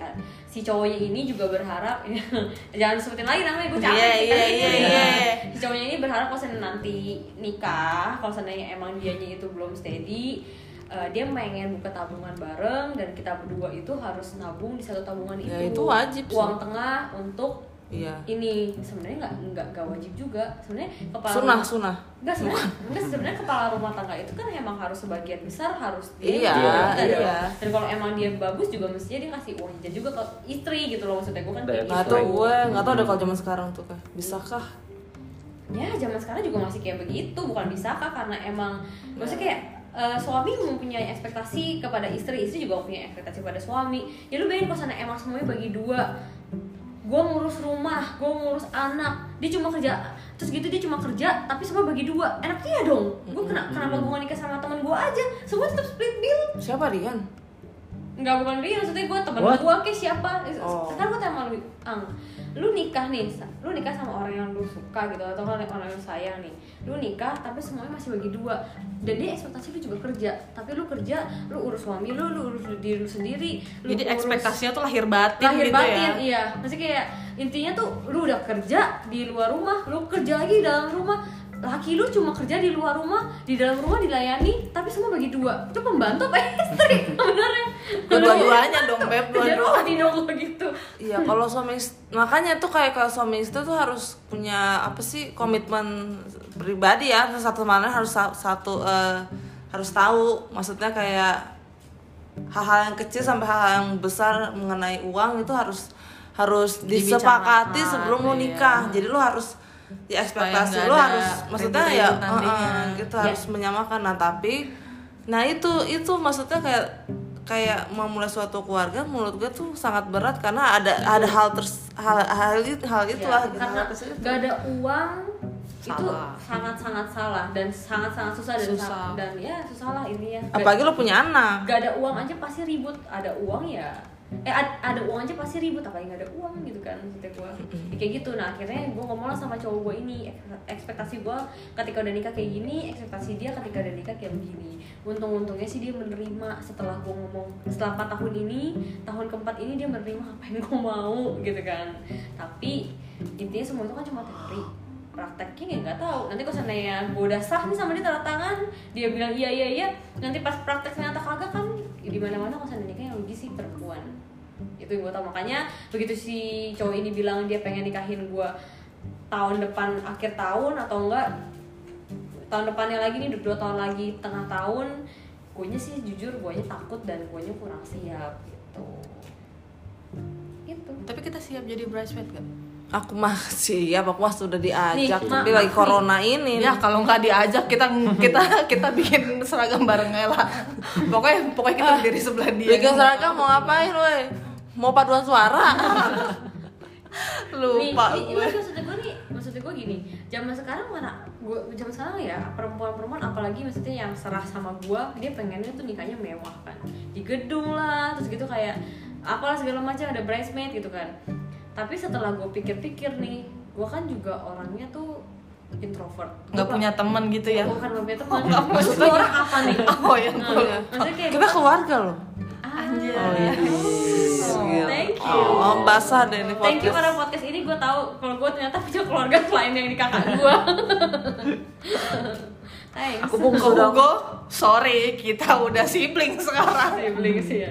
si cowoknya ini juga berharap ya, jangan sebutin lagi namanya gue capek. Iya, iya, iya, iya. Si cowoknya ini berharap kalau seandainya nanti nikah, kalau seandainya emang dianya itu belum steady, eh, dia pengen buka tabungan bareng dan kita berdua itu harus nabung di satu tabungan Ya, itu. itu wajib sih. Uang tengah untuk iya ini sebenarnya nggak nggak nggak wajib juga sebenarnya kepala sunah rumah- sunah Enggak sebenarnya, enggak sebenarnya kepala rumah tangga itu kan emang harus sebagian besar harus dia Iya, dan, iya. dan kalau emang dia bagus juga mestinya dia kasih uang jajan juga ke istri gitu loh maksudnya gue kan Iya, kayak Betul. nggak gitu. tau gue nggak tau udah kalau Hmm. zaman sekarang tuh kan bisakah Ya zaman sekarang juga masih kayak begitu bukan bisa kak karena emang maksudnya kayak eh, suami mempunyai ekspektasi kepada istri, istri juga punya ekspektasi pada suami. Ya lu bayangin kalau sana emang semuanya bagi dua, gue ngurus rumah, gue ngurus anak, dia cuma kerja, terus gitu dia cuma kerja, tapi semua bagi dua, enaknya ya dong. Gue kena, kenapa gue nikah sama teman gue aja, semua tetap split bill. siapa Rian Enggak bukan Rian, maksudnya gue temen What? gue ke siapa Oh. Kan gue tanya sama lu, Ang Lu nikah nih, sa- lu nikah sama orang yang lu suka gitu Atau orang orang yang lu sayang nih Lu nikah tapi semuanya masih bagi dua Dan dia ekspektasi lu juga kerja Tapi lu kerja, lu urus suami lu, lu urus diri lu sendiri lu Jadi urus- ekspektasinya tuh lahir batin lahir gitu batin ya. iya masih kayak intinya tuh lu udah kerja di luar rumah lu kerja lagi di dalam rumah laki lu cuma kerja di luar rumah di dalam rumah dilayani tapi semua bagi dua itu pembantu apa istri sebenarnya Dua-duanya dong, Beb, dua-duanya. Kerja rumah di dong gitu Iya, kalau suami ist- makanya tuh kayak kalau suami istri tuh harus punya apa sih komitmen pribadi ya satu mana harus sa- satu eh, harus tahu maksudnya kayak hal-hal yang kecil sampai hal-hal yang besar mengenai uang itu harus harus Dibicarakan, disepakati sebelum lu iya. nikah. Jadi lu harus ya ekspektasi nggak lu ada harus maksudnya ya ribut-ribut nantinya. eh, eh, gitu Ya. harus menyamakan nah tapi nah itu itu maksudnya kayak kayak memulai suatu keluarga menurut gue tuh sangat berat karena ada ada hal ters hal hal, it- hal itulah Ya, gitu karena hal kecil itu. gak ada uang itu Salah. sangat-sangat salah dan sangat-sangat susah dan Susah. sa- dan ya susah lah intinya Gak- apalagi lu punya anak gak ada uang aja pasti ribut ada uang ya eh ad- ada uang aja pasti ribut apalagi gak ada uang gitu kan maksudnya gue kayak gitu nah akhirnya gue ngomong lah sama cowok gue ini ek- ekspektasi gue ketika udah nikah kayak gini ekspektasi dia ketika udah nikah kayak begini untung-untungnya sih dia menerima setelah gue ngomong setelah 4 tahun ini tahun keempat ini dia menerima apa yang gue mau gitu kan tapi intinya semua itu kan cuma teori prakteknya ya nggak tahu nanti kalau seandainya gue udah sah nih sama dia tanda tangan dia bilang iya iya iya nanti pas praktek ternyata kagak kan ya di mana mana kalau seandainya nikah yang rugi sih perempuan itu yang gue tau makanya begitu si cowok ini bilang dia pengen nikahin gue tahun depan akhir tahun atau enggak tahun depannya lagi nih dua tahun lagi tengah tahun guanya sih jujur guanya takut dan guanya kurang siap gitu gitu Tapi kita siap jadi bridesmaid kan? gak? aku masih ya aku masih udah diajak Nih, tapi ma- lagi ma- corona ini Ya kalau nggak diajak kita kita kita bikin seragam bareng Ella. Pokoknya pokoknya kita berdiri sebelah dia. bikin seragam mau ngapain woi mau paduan suara Lupa nih, gue. nih, maksud gue nih maksud gue gini zaman sekarang mana gue zaman sekarang ya perempuan-perempuan apalagi maksudnya yang serah sama gue dia pengennya tuh nikahnya mewah kan di gedung lah terus gitu kayak apalah segala macam ada bridesmaid gitu kan tapi setelah gue pikir-pikir nih gue kan juga orangnya tuh introvert Gua Nggak punya teman gitu ya. bukan gak punya teman maksud gue orang apa nih Oh, ya. Nah, maksudnya kayak kita keluarga loh ah, Oh, iya. Iya, gitu. Gila. thank you oh, basah deh ini Thank you podcast. karena podcast ini gue tahu kalau gue ternyata punya keluarga selain yang di kakak gue. Thanks. aku bungkuk dong Hugo, sorry kita udah sibling sekarang. Sibling sih ya.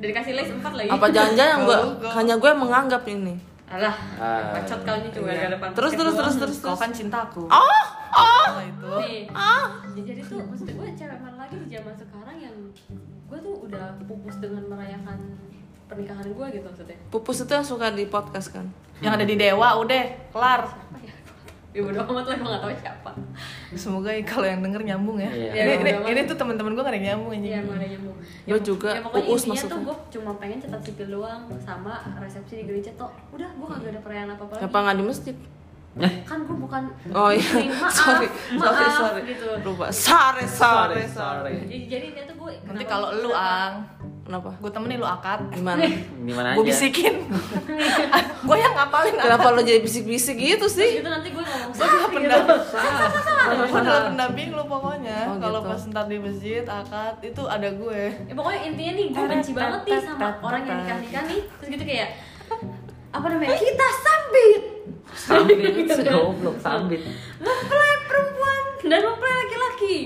Dari kasih list empat lagi. apa jangan-jangan yang gue Go, go. hanya gue menganggap ini Alah, Ah. bacot kau nya cuma gara depan. Eh, iya. terus terus terus terus Kau terus kan cintaku. oh oh Kalau itu. Nih. Ah. Ya, Jadi tuh maksud gue cewek mana lagi di zaman sekarang yang gue tuh udah pupus dengan merayakan pernikahan gue gitu maksudnya. pupus itu yang suka di podcast kan Yang ada di Dewa udah kelar. Apa ya? Ya bodo amat lah gue gak tau siapa. Semoga kalau yang denger nyambung ya. Iya. Ini, ini, Mudah-mudahan. ini tuh teman-teman gue gak ada yang nyambung anjing. Iya, mana nyambung. Hmm. Gua juga, Ya, pokoknya uus intinya maksudnya. tuh gue cuma pengen cetak sipil doang sama resepsi di gereja tuh. Udah, gue kagak ada perayaan apa-apa lagi. apa nggak di masjid Kan gue bukan oh iya muslim. Maaf, sorry maaf, sorry sorry gitu. lupa sorry sorry Sorry, sorry sorry. Jadi, jadi intinya tuh gue Nanti kalau lu ah. ang, kenapa gue temenin lu akad. gimana Gimana Gue aja? bisikin. gue yang ngapalin kenapa lo jadi bisik-bisik gitu Terus sih gitu nanti gue Iya, ngomong salah gitu. Gue adalah pendamping lu pokoknya Oh, kalau gitu. pas ntar di masjid akad itu ada gue Ya, pokoknya intinya nih gue benci banget nih sama orang yang nikah nikah nih terus gitu kayak apa namanya kita sambit Sambit, goblok, sambit. mempelai perempuan dan mempelai laki-laki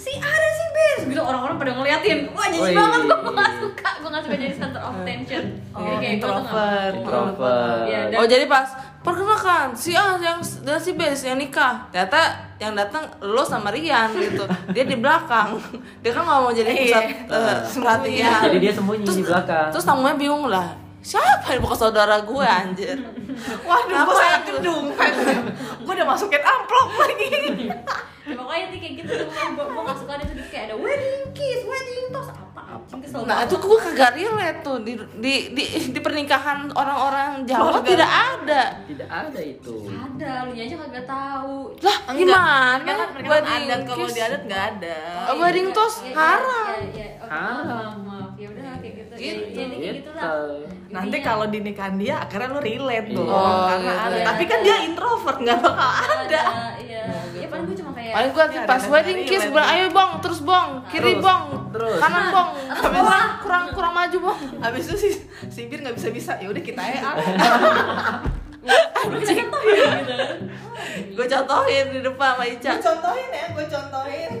si ada si B Terus gitu orang-orang pada ngeliatin wah jijik Wih. banget gue gak suka gue gak suka jadi center of attention Iya, jadi kayak gue tuh gak introvert. mau. Introvert. Iya, dan- oh jadi pas perkenalkan si A yang dan si B yang nikah ternyata yang datang lo sama Rian gitu dia di belakang dia kan nggak mau jadi Iya. pusat eh, Iya. perhatian Iya. Jadi dia sembunyi di belakang. terus tamunya bingung lah siapa yang bukan saudara gue anjir waduh Apa gue salah itu? gedung gue udah masukin amplop lagi Ya, pokoknya nanti kayak gitu gue gue gak suka ada tuh kayak ada wedding kiss wedding toast apa anjing kesel nah banget. itu gue kagak relate tuh di di di, di pernikahan orang-orang Jawa Keluarga. tidak ada Tidak ada itu. ada lu aja kagak tahu lah gimana Enggak kan pernikahan wedding adat kalau kiss? di adat nggak ada wedding toast Ya, ya, haram. ya, ya, oke, Haram. maaf maaf ya udah kayak gitu Iya, Iya, gitu. kayak gitulah. Nanti Intinya, kalau dinikahin dia akhirnya lu relate Iya. dong Oh, karena iya, ada. iya. Tapi kan dia introvert nggak bakal ada. Iya. Ya paling gue cuma kayak Paling gue Iya, pas ada wedding dari kiss wedding. bilang ayo bong, terus bong, kiri Terus, bong, terus. kanan bong, kurang kurang kurang maju bong. Abis itu si Sibir nggak bisa bisa. Ya udah kita ya. Gue contohin gitu kan. Gue contohin di depan sama Ica. contohin ya, gue contohin.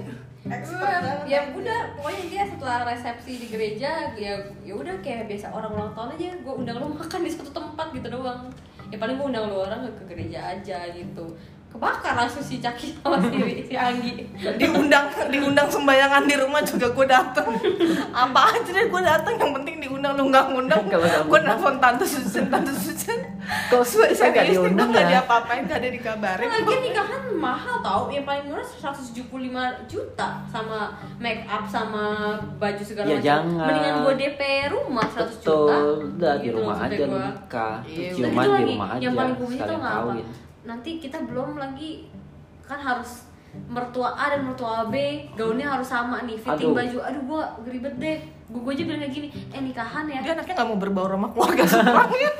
Gue ya udah pokoknya dia setelah resepsi di gereja ya ya udah kayak biasa orang ulang tahun aja gue undang lo makan di satu tempat gitu doang. Ya paling gue undang lo orang ke gereja aja gitu. Kebakar langsung si Caki sama si, si Anggi. diundang diundang sembayangan di rumah juga gue dateng apa aja deh gue dateng yang penting diundang lu nggak ngundang Kalau nggak gue ngundang. nelfon tante Susan tante Susan Kok saya saya nggak istri gue diundang nggak ya? diapa-apain nggak ada dikabarin Lagian Kan nikahan mahal tau, yang paling murah 175 juta sama make up sama baju segala Ya, macam. jangan. Mendingan gue DP rumah 100 juta. Betul, udah di Gitu rumah maksudnya aja gua. nikah, Iya, Terus Udah ciuman di gitu lagi, rumah aja, Yang paling gue itu sekalian nggak apa. kawin. Nanti kita belum lagi kan harus mertua A dan mertua B gaunnya harus sama nih fitting Aduh. baju aduh gue geribet deh gue aja bilang kayak gini eh nikahan ya dia anaknya nggak mau berbaur sama keluarga semuanya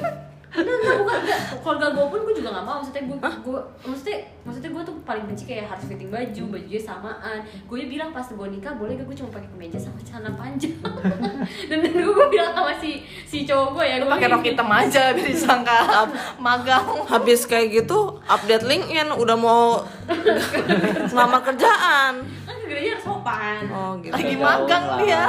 Enggak, enggak, bukan, enggak. Keluarga gue pun gue juga gak mau. Maksudnya gue, gue, maksudnya, maksudnya gue tuh paling benci kayak harus fitting baju, bajunya samaan. Gue bilang pas gue nikah boleh gak gue cuma pakai kemeja sama celana panjang. dan dan gue, gue bilang sama si si cowok gue ya, Lu gue pakai rok hitam aja biar disangka magang Habis kayak gitu update LinkedIn udah mau ngelamar kerjaan. Kan ke gereja harus sopan. Oh gitu. Lagi Gaul magang lah, dia.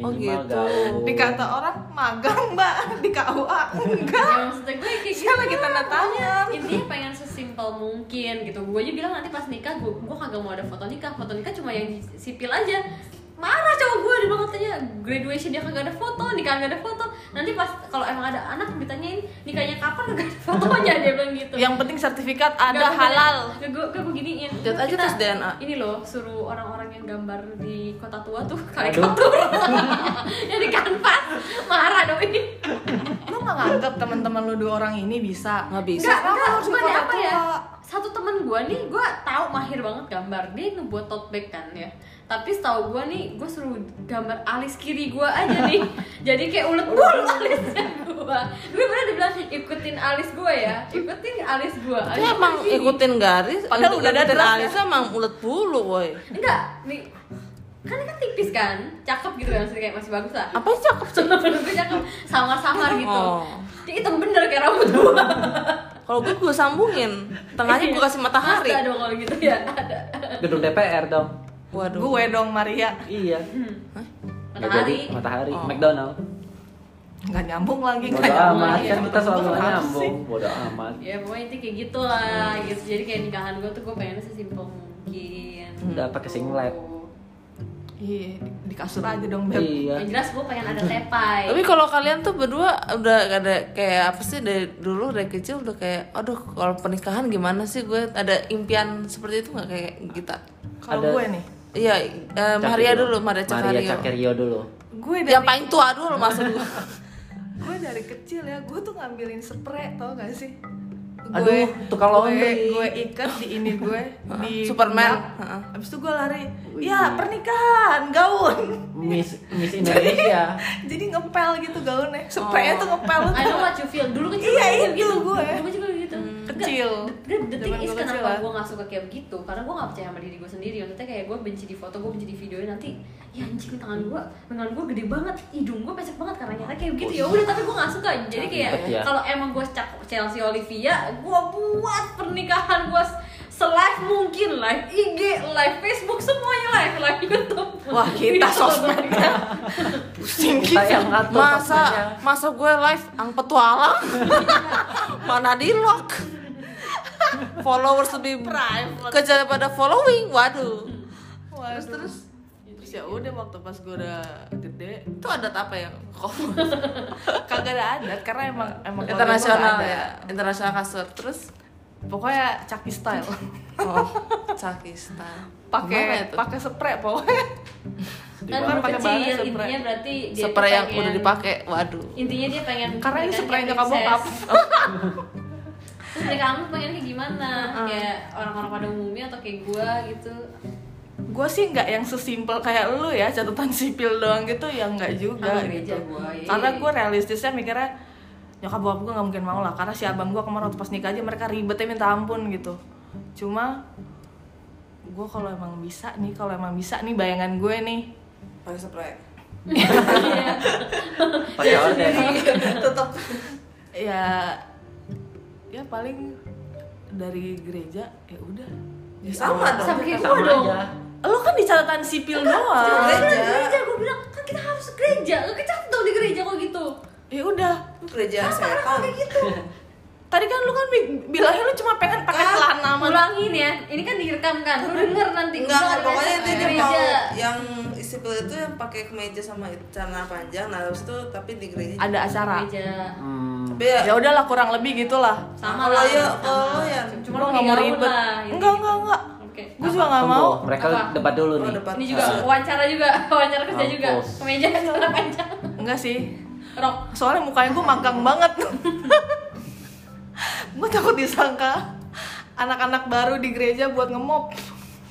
minimal Oh, gitu. gaul. dikata orang magang mbak di KUA enggak Ya, maksudnya gue kayak gitu. dia lagi tanda tangan intinya pengen sesimpel mungkin gitu gue aja bilang nanti pas nikah gue gue kagak mau ada foto nikah foto nikah cuma yang sipil aja marah cowok gue dia bilang katanya graduation dia kagak ada foto nikah kagak ada foto nanti pas kalau emang ada anak ditanyain nikahnya kapan kagak ada fotonya dia bilang gitu yang penting sertifikat ada halal gue gue beginiin Lihat aja Kita- tes DNA. ini loh suruh orang-orang yang gambar di kota tua tuh Aduh. karikatur yang di kanvas marah doi lu nggak nganggap teman-teman lu dua orang ini bisa Nggak bisa. Enggak, Kenapa enggak, harus cuman di kota apa ya? tua? Satu temen gue nih, gue tahu mahir banget gambar Dia ngebuat tote bag kan ya Tapi setahu gue nih, gue suruh gambar alis kiri gue aja nih Jadi kayak ulet bulu alisnya gue Gue bener dibilang, ikutin alis gue ya Ikutin alis gue Itu emang ikutin garis, Padahal ikut- udah ada ikutin draft, ya. alisnya emang ulet bulu woi. Enggak, nih kan kan tipis kan, cakep gitu kan, maksudnya kayak masih bagus lah. Apa sih cakep sih? Menurut gue cakep, samar-samar gitu. Oh. Dia hitam bener kayak rambut gue. Kalau gue gue sambungin, tengahnya gue kasih matahari. Iya. Ada dong kalau gitu ya, ada. Gedung DPR dong. Waduh. gue dong Maria Iya. Nggak Ya, jadi, Matahari. matahari. Oh. McDonald. nggak nyambung lagi Bodoh nggak nyambung amat lagi. kan kita selalu Kenapa nyambung. sih? Bodoh amat. ya pokoknya intinya kayak gitu lah gitu jadi kayak nikahan gue tuh gue pengen sesimpel mungkin Udah, gitu. pakai singlet. iya di- di kasur aja dong beb Iya. yang jelas gue pengen ada tepai Tapi kalau kalian tuh berdua udah gak ada kayak apa sih dari dulu dari kecil udah kayak aduh kalau pernikahan gimana sih gue ada impian seperti itu nggak kayak kita? kalau Ada- gue nih Iya, eh, Cakir Maria dulu, Maria Maria Cakario. Cakario dulu. gue dari Yang paling tua dulu maksud gue. gue dari kecil ya gue tuh ngambilin spray tau gak sih Aduh, Gue- tukang laundry. gue, gue ikat di ini gue di Superman. pundak. Heeh. abis itu gue lari Wih. ya pernikahan gaun Miss Miss Indonesia. jadi ngepel gitu gaunnya spraynya tuh ngepel Oh. I know what you feel dulu kan Iya, juga itu gue. dulu juga gitu kecil. the, the thing Zaman is gue kecil ah. kenapa lah. gue gak suka kayak begitu karena gue gak percaya sama diri gue sendiri maksudnya kayak gue benci di foto gue benci di videonya nanti ya anjing tangan gue lengan gue gede banget hidung gue pesek banget karena nyata kayak begitu ya udah tapi gue gak suka jadi kayak Ribet iya. ya. kalau emang gue cakep Chelsea Olivia gue buat pernikahan gue selive mungkin live IG live Facebook semuanya live live YouTube Wah, kita sosmednya. Pusing kita yang ngatur. sosmednya. Masa masa gue live ang petualang. Mana di lock. Followers lebih kecil daripada following. Waduh. terus terus terus ya udah waktu pas gue udah gede Itu adat apa ya? Kok kagak ada adat karena emang emang keluarga gua internasional nggak ada. ya internasional kasur terus pokoknya caki style oh Cakistan Gimana pakai itu? pakai spray pokoknya Sedih Kan kan gue banget. pakai banget kecil intinya spray. berarti dia tuh spray yang pengen- udah dipakai waduh intinya dia pengen Karena ini pernikahan spray kayak nyokap bokap. princess. Ah. terus mereka kamu pengen kayak gimana kayak orang-orang pada umumnya atau kayak gua gitu gue sih nggak yang sesimpel kayak lu ya catatan sipil doang gitu ya nggak juga Sama gitu gereja gua, iya. karena gue realistisnya mikirnya nyokap bokap gue nggak mungkin mau lah karena si abang gue kemarin waktu pas nikah aja mereka ribetnya minta ampun gitu cuma gue kalau emang bisa nih kalau emang bisa nih bayangan gue nih pakai spray Iya. pakai orden Iya. tetap ya ya paling dari gereja ya udah ya, sama dong sama kayak gue sama dong aja lu kan di catatan sipil Sama doang gereja. Gereja. gereja gue bilang kan kita harus ke gereja lu kecap dong di gereja kok gitu ya udah gereja setan gitu. tadi kan lu kan bi- bilangnya lu cuma pengen pakai Ah, celana sama- ulangin ya ini kan direkam kan lu denger nanti enggak Gua enggak ada pokoknya di itu dia gereja. mau yang sipil itu yang pakai kemeja sama celana panjang nah habis itu tapi di gereja ada acara gereja Hmm, tapi ya ya udahlah kurang lebih gitulah sama Kalau lah ya, sama. kalau ya. Oh cuma Lu lu nggak mau gaun ribet lah, gitu. enggak enggak enggak oke gue juga nggak tunggu, mau mereka Apa? debat dulu Oh, nih Nah, debat. ini juga Ah. wawancara juga wawancara kerja juga Mampus. kemeja celana panjang enggak sih rok soalnya mukanya gue magang banget gue takut disangka anak-anak baru di gereja buat ngemop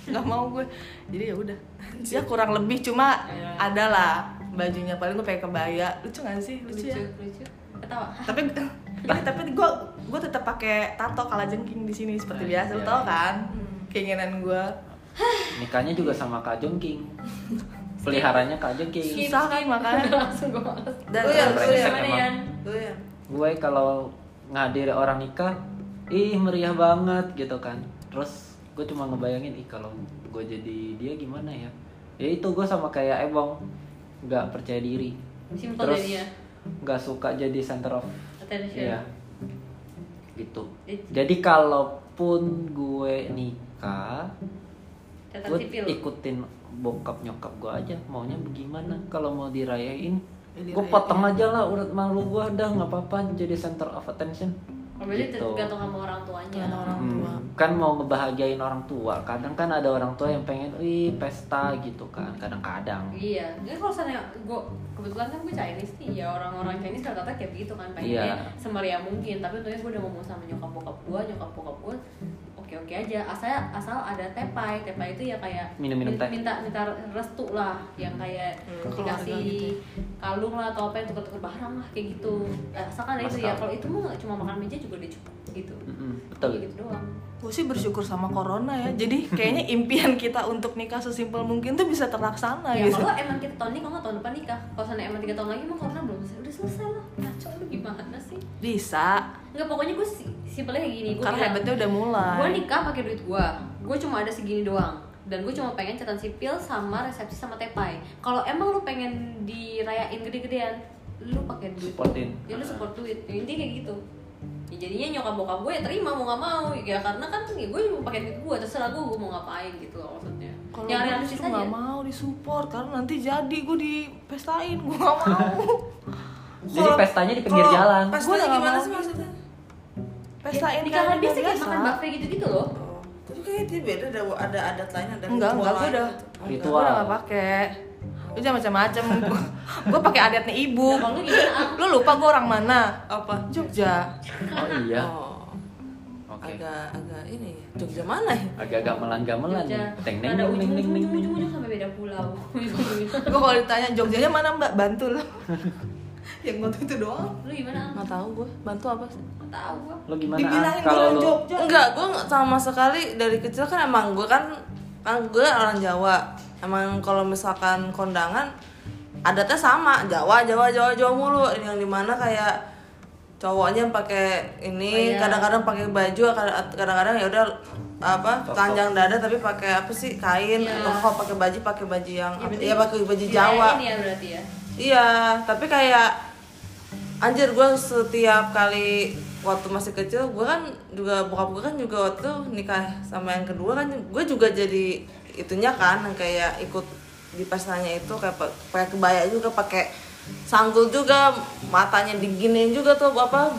nggak mau gue jadi ya udah ya kurang lebih cuma Iya. Ya. ada lah bajunya paling gue pakai kebaya lucu gak sih lucu, lucu ya lucu ketawa tapi ini tapi gue gue tetap pakai tato kalajengking di sini seperti Nah, biasa iya. lo tau kan keinginan gue nikahnya juga sama Kak Jongking peliharanya Kak Jongking Skip. Susah kan makanya. langsung gue males dan Lu lu yang yang lu yang brengsek. gimana emang. ya. Yan? lu ya? yang gue kalau ngadir orang nikah ih meriah banget gitu kan terus gue cuma ngebayangin ih kalau gue jadi dia gimana ya ya itu gue sama kayak Ebong nggak percaya diri Simple terus jadinya. nggak suka jadi center of attention Iya. gitu It's- jadi kalaupun gue nikah catatan gue sipil ikutin bokap nyokap gue aja maunya bagaimana kalau mau dirayain Ya, gue dirayain. potong aja lah urat malu gue dah nggak apa-apa jadi center of attention Oh, berarti Gitu. tergantung sama orang tuanya Tergantung orang Hmm, tua kan mau ngebahagiain orang tua kadang kan ada orang tua yang pengen wih pesta gitu kan kadang-kadang Iya, jadi kalau misalnya gue kebetulan kan gue Chinese nih, ya orang-orang Chinese rata-rata kayak gitu kan Hmm. pengennya Iya. semeriah mungkin. Tapi untungnya gue udah ngomong sama nyokap bokap gue, nyokap bokap gue oke-oke aja. Asal asal ada tepai, tepai itu ya kayak Minum-minum min- teh. minta minta restu lah, yang kayak Hmm, keluarga dikasih gitu ya. kalung lah atau apa yang tuker-tuker barang lah kayak gitu. Eh, Asalkan ada itu ya, Masalah. kalau itu mah cuma makan meja juga udah cukup gitu. Mm-mm, betul Kayak Gitu doang. Gue sih bersyukur sama corona ya. Jadi kayaknya impian kita untuk nikah sesimpel mungkin tuh bisa terlaksana Iya, ya gitu. kalau emang kita tahun ini kalau nggak tahun depan nikah kalau sana emang tiga tahun lagi emang corona belum selesai udah selesai lah ngaco lu gimana sih Bisa. nggak pokoknya gue si simpelnya kayak gini gue Karena hebatnya udah mulai. gue nikah pakai duit gue gue cuma ada segini doang dan gue cuma pengen catatan sipil sama resepsi sama tepai kalau emang lu pengen dirayain gede-gedean lu pakai duit Supportin. ya lu support duit ya, intinya kayak gitu ya jadinya nyokap bokap gue ya terima mau nggak mau ya karena kan ya gue cuma pakai duit gue terserah gue gue mau ngapain gitu loh maksudnya Kalau yang gue realistis justru aja nggak mau disupport karena nanti jadi gue dipestain gue nggak mau. jadi Kalau- pestanya di pinggir kalau jalan pas Gua tanya udah gimana lama sih maksudnya Pestain Nikah kayak habis sih kayak Eh, biasa. makan buffet gitu-gitu loh. oh tapi kayaknya dia beda ada ada adat lain ada Enggak, enggak, ritual gue lain udah gitu. gue Ritual. udah gak pakai. Lu jangan macam-macam. gue pakai adatnya ibu. Nah, kalau lu gimana? Ang? Lu lupa gue orang mana? apa Jogja. oh iya oh oke agak agak ini ya. Jogja mana ya agak gamelan-gamelan nih Jogja. teng neng Ada neng neng neng neng. ujung-ujung-ujung sampai beda pulau. Ujung-ujung. Gue kalau ditanya Jogjanya mana Mbak? Bantul. Yang waktu itu doang. lu gimana? Ang? nggak tahu gue bantu apa sih Nggak tahu gua. lo gimana ah Dibilangin kalau orang lo Jogja. Enggak, gue sama sekali dari kecil kan emang gue kan kan gue orang Jawa. Emang kalau misalkan kondangan adatnya sama Jawa, Jawa, Jawa, Jawa mulu. Yang dimana kayak cowoknya pakai ini, Oh, iya. kadang-kadang pakai baju, kad- kadang-kadang ya udah apa Top-top. panjang dada tapi pakai apa sih kain Iya. atau kalau pakai baju pakai baju yang apa- berarti ya, pakai baju dirayain Jawa. ya berarti ya. Iya, tapi kayak anjir gue setiap kali waktu masih kecil gue kan juga bokap gue kan juga waktu nikah sama yang kedua kan gue juga jadi itunya kan yang kayak ikut di pestanya itu kayak pa- pakai kebaya juga pakai sanggul juga matanya diginiin juga tuh apa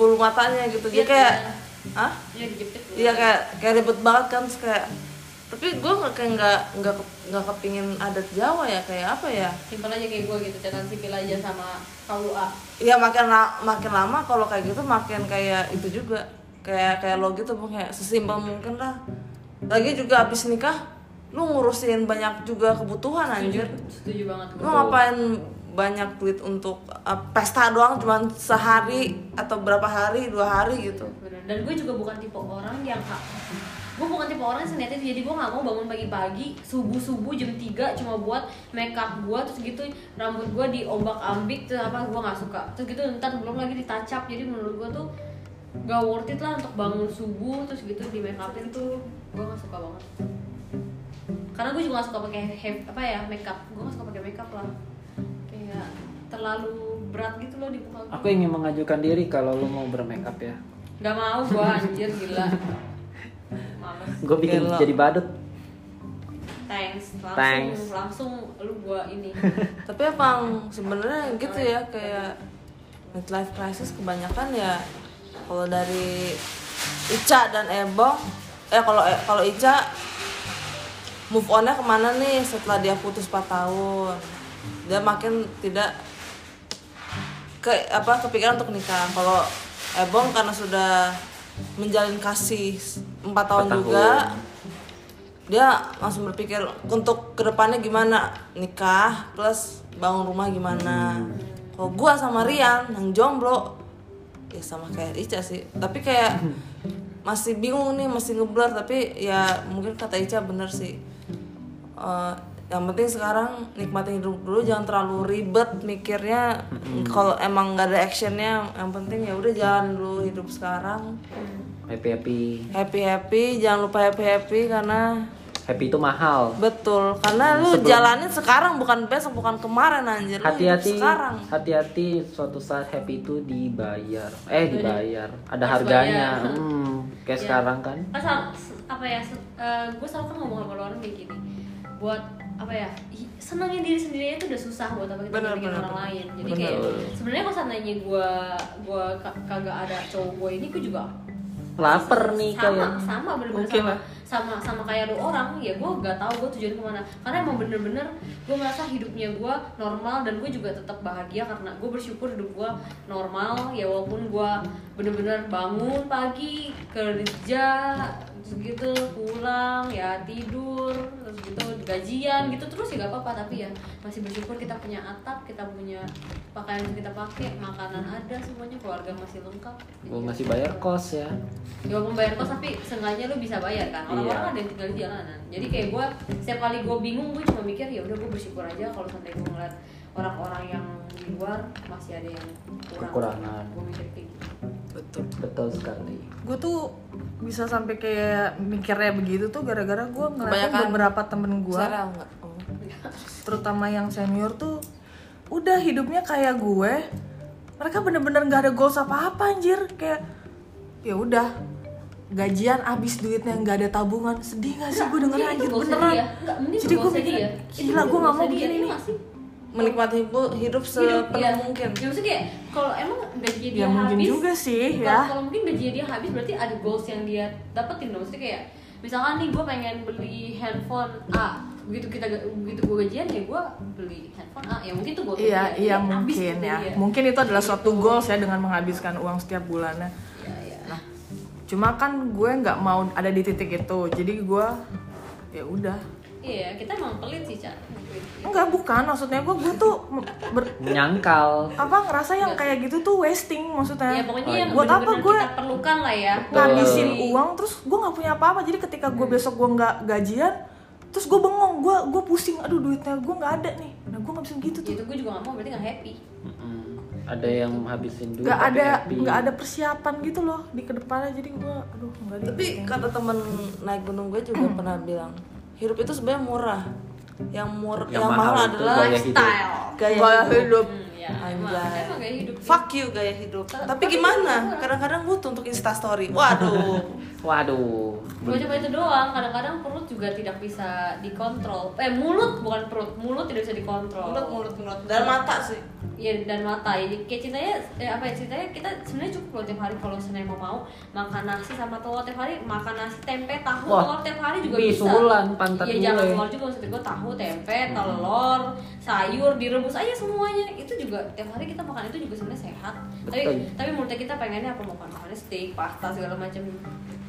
bulu matanya gitu dia Iya, kayak iya. ah Ya dijepit. lu. Iya kayak kayak ribet banget kan terus kayak tapi gue kayak nggak nggak ke- nggak kepingin adat Jawa ya kayak apa ya Simpel aja kayak gua gitu, catatan sipil aja sama KUA. Iya makin la- makin lama kalau kayak gitu makin kayak itu juga kayak kayak lo gitu Bang, kayak sesimpel mungkin lah lagi juga abis nikah lu ngurusin banyak juga kebutuhan anjir setuju banget lu ngapain banyak duit untuk eh, pesta doang cuman sehari atau berapa hari dua hari gitu Bener. dan gue juga bukan tipe orang yang gue bukan tipe orang yang sensitif jadi gue nggak mau bangun pagi-pagi subuh subuh jam 3 cuma buat make up gue terus gitu rambut gue diombak ambik terus apa gue nggak suka terus gitu ntar belum lagi ditacap jadi menurut gue tuh gak worth it lah untuk bangun subuh terus gitu di make upin tuh gue nggak suka banget karena gue juga nggak suka pakai he- apa ya make up gue nggak suka pakai make up lah kayak terlalu berat gitu loh di muka gue Aku ingin mengajukan diri kalau lu mau bermakeup ya. Gak mau gua anjir gila. Males. Gue bikin Gelo. jadi badut. Thanks. Langsung Thanks. langsung lu gua ini. tapi emang sebenarnya gitu ya kayak midlife crisis kebanyakan ya kalau dari Ica dan Ebong eh kalau eh, kalau Ica move onnya kemana nih setelah dia putus 4 tahun dia makin tidak ke apa kepikiran untuk nikah kalau Ebong karena sudah menjalin kasih 4 tahun Empat juga tahun. dia langsung berpikir untuk kedepannya gimana nikah plus bangun rumah gimana Hmm. kalau gua sama Rian yang jomblo ya sama kayak Ica sih tapi kayak Hmm. masih bingung nih masih ngeblur tapi ya mungkin kata Ica bener sih Eh, yang penting sekarang nikmatin hidup dulu jangan terlalu ribet mikirnya kalau emang nggak ada actionnya yang penting ya udah jalan dulu hidup sekarang Happy happy. happy happy jangan lupa happy happy karena Happy itu mahal. Betul, karena lu jalanin sekarang bukan besok bukan kemarin anjir. Lu hidup Hati-hati. sekarang. Hati-hati suatu saat happy itu dibayar. Eh dibayar. Ada Harus harganya. bayar. Hmm, kayak Iya. sekarang kan. Kan sel- se- apa ya? gue selalu kan ngomong sama orang kayak gini. Buat apa ya? hi- Senengin diri sendiri itu udah susah buat apa kita Bener, nyenengin bener, orang bener. lain. Jadi Bener. kayak sebenarnya kalau seandainya gua gua ka- kagak ada cowok gua ini gua juga Laper nih sama kayak. sama bener-bener Oke sama, lah. sama sama kayak lu orang ya gue gak tahu gue tujuan kemana karena emang bener-bener gue merasa hidupnya gue normal dan gue juga tetap bahagia karena gue bersyukur hidup gue normal ya walaupun gue bener-bener bangun pagi kerja terus gitu pulang ya tidur terus gitu gajian gitu terus ya gak apa-apa tapi ya masih bersyukur kita punya atap kita punya pakaian yang kita pakai makanan ada semuanya keluarga masih lengkap Gue masih bayar kos ya. Ya walaupun bayar kos tapi seenggaknya lu bisa bayar kan. Orang-orang Iya. ada yang tinggal di jalanan. Jadi kayak gue setiap kali gue bingung gue cuma mikir ya udah gue bersyukur aja kalau sampai gue ngeliat orang-orang yang di luar masih ada yang kurang. Kekurangan. Gue mikir kayak gitu. Betul. Betul sekali. gue tuh bisa sampai kayak mikirnya begitu tuh gara-gara gue ngeliatin Kebanyakan. beberapa temen gue Sarah enggak. Oh. terutama yang senior tuh udah hidupnya kayak gue mereka bener-bener nggak ada goals apa-apa anjir kayak ya udah gajian habis duitnya nggak ada tabungan sedih gak sih gue denger Mungkin anjir Iya, itu goals beneran dia. Enggak, mending jadi gue goals mikir dia. Itu gila gue nggak mau goals dia, begini iya nih nggak sih? Menikmati hidup, hidup Hidup, sepenuh iya. mungkin. Ya maksudnya kayak kalau emang gajinya dia ya mungkin habis juga sih Kalau- ya Kalau mungkin gajinya dia habis berarti ada goals yang dia dapetin dong. Maksudnya kayak misalkan nih gue pengen beli handphone A, begitu kita begitu gue gajian ya gue beli handphone A. Ya mungkin tuh gue iya iya gitu mungkin ya mungkin itu adalah suatu goals ya dengan menghabiskan uang setiap bulannya Iya, nah cuma kan gue nggak mau ada di titik itu jadi gue ya udah Iya, kita emang pelit sih, Chan. enggak bukan maksudnya gue gue tuh me- ber- Menyangkal. apa ngerasa yang kayak gitu tuh wasting maksudnya Ya pokoknya yang Nah, buat apa bener-bener gue kita perlukan lah ya. Oh, iya. Betul. ngabisin Jadi- uang terus gue nggak punya apa-apa jadi ketika Hmm. gue besok gue nggak gajian terus gue bengong gue gue pusing aduh duitnya gue nggak ada nih nah gue nggak bisa gitu tuh Itu gue juga gak mau berarti gak happy. Mm-mm. Ada yang habisin duit. nggak tapi ada ya, happy. nggak ada persiapan gitu loh di kedepannya jadi gue aduh nggak deh Tapi kata temen naik gunung gue juga pernah bilang, hidup itu sebenarnya murah. Yang murah yang, Yang mahal, mahal itu adalah gaya hidup. gaya, hidup. Hmm, ya, emang, Anjay. emang gaya hidup. sih. Fuck Ah, you gaya hidup. Tapi, gimana? Kadang-kadang butuh untuk instastory. Waduh. Waduh. Gue coba itu doang, kadang-kadang perut juga tidak bisa dikontrol. Eh, mulut bukan perut, mulut tidak bisa dikontrol. mulut mulut mulut dan mata sih. Iya dan mata ini kayak ceritanya eh, apa ya ceritanya kita sebenarnya cukup loh tiap hari kalau senin mau mau makan nasi sama telur tiap hari makan nasi tempe tahu Wah, telur tiap hari juga wih, bisa. suhulan, pantat Hmm. Iya jangan gue. telur juga maksud gue tahu tempe telur sayur direbus aja semuanya itu juga tiap hari kita makan itu juga sebenarnya sehat. Tapi Betul. tapi menurut kita pengennya apa makan makannya steak pasta segala macam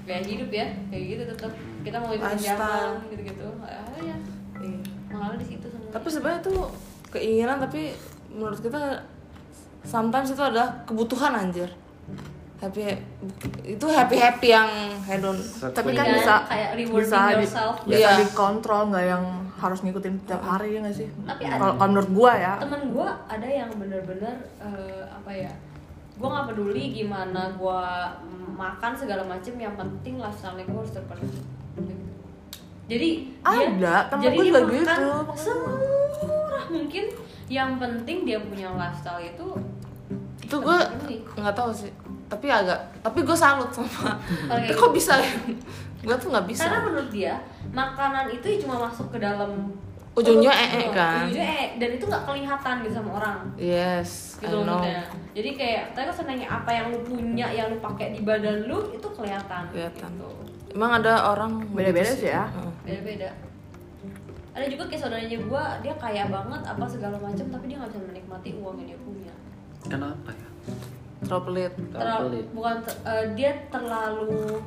gaya hidup ya kayak gitu tetap kita mau ikutin Lifestyle. zaman gitu-gitu ah ya Iya. mengalir di situ semua tapi sebenarnya itu keinginan tapi menurut kita sometimes itu adalah kebutuhan anjir tapi itu happy happy yang hedon tapi kan Iya, bisa kayak rewarding bisa di, yourself. bisa Iya. dikontrol nggak yang harus ngikutin tiap hari ya nggak sih Tapi ada- kalau kalau menurut gua ya temen gue ada yang bener-bener eh, apa ya gue nggak peduli gimana gue makan segala macem yang penting lifestyle gue harus terpenuhi jadi Ada, temen jadi gua dia juga makan gitu. semurah mungkin yang penting dia punya lifestyle itu itu gue nggak tahu sih tapi agak tapi gue salut sama Oke. kok bisa gue tuh nggak bisa gitu. karena menurut dia makanan itu ya cuma masuk ke dalam Ujungnya perut, ee gitu. kan? ujungnya ee dan itu nggak kelihatan gitu sama orang yes I gitu know maksudnya jadi kayak tadi kan saya nanya apa yang lu punya yang lu pakai di badan lu itu kelihatan Kelihatan. gitu. emang ada orang Beda-beda begitu sih ya. Heeh. beda beda ada juga kayak saudaranya gua dia kaya banget apa segala macam tapi dia nggak bisa menikmati uang yang dia punya Kenapa ya? terlalu pelit terlalu pelit. bukan ter- eh, dia terlalu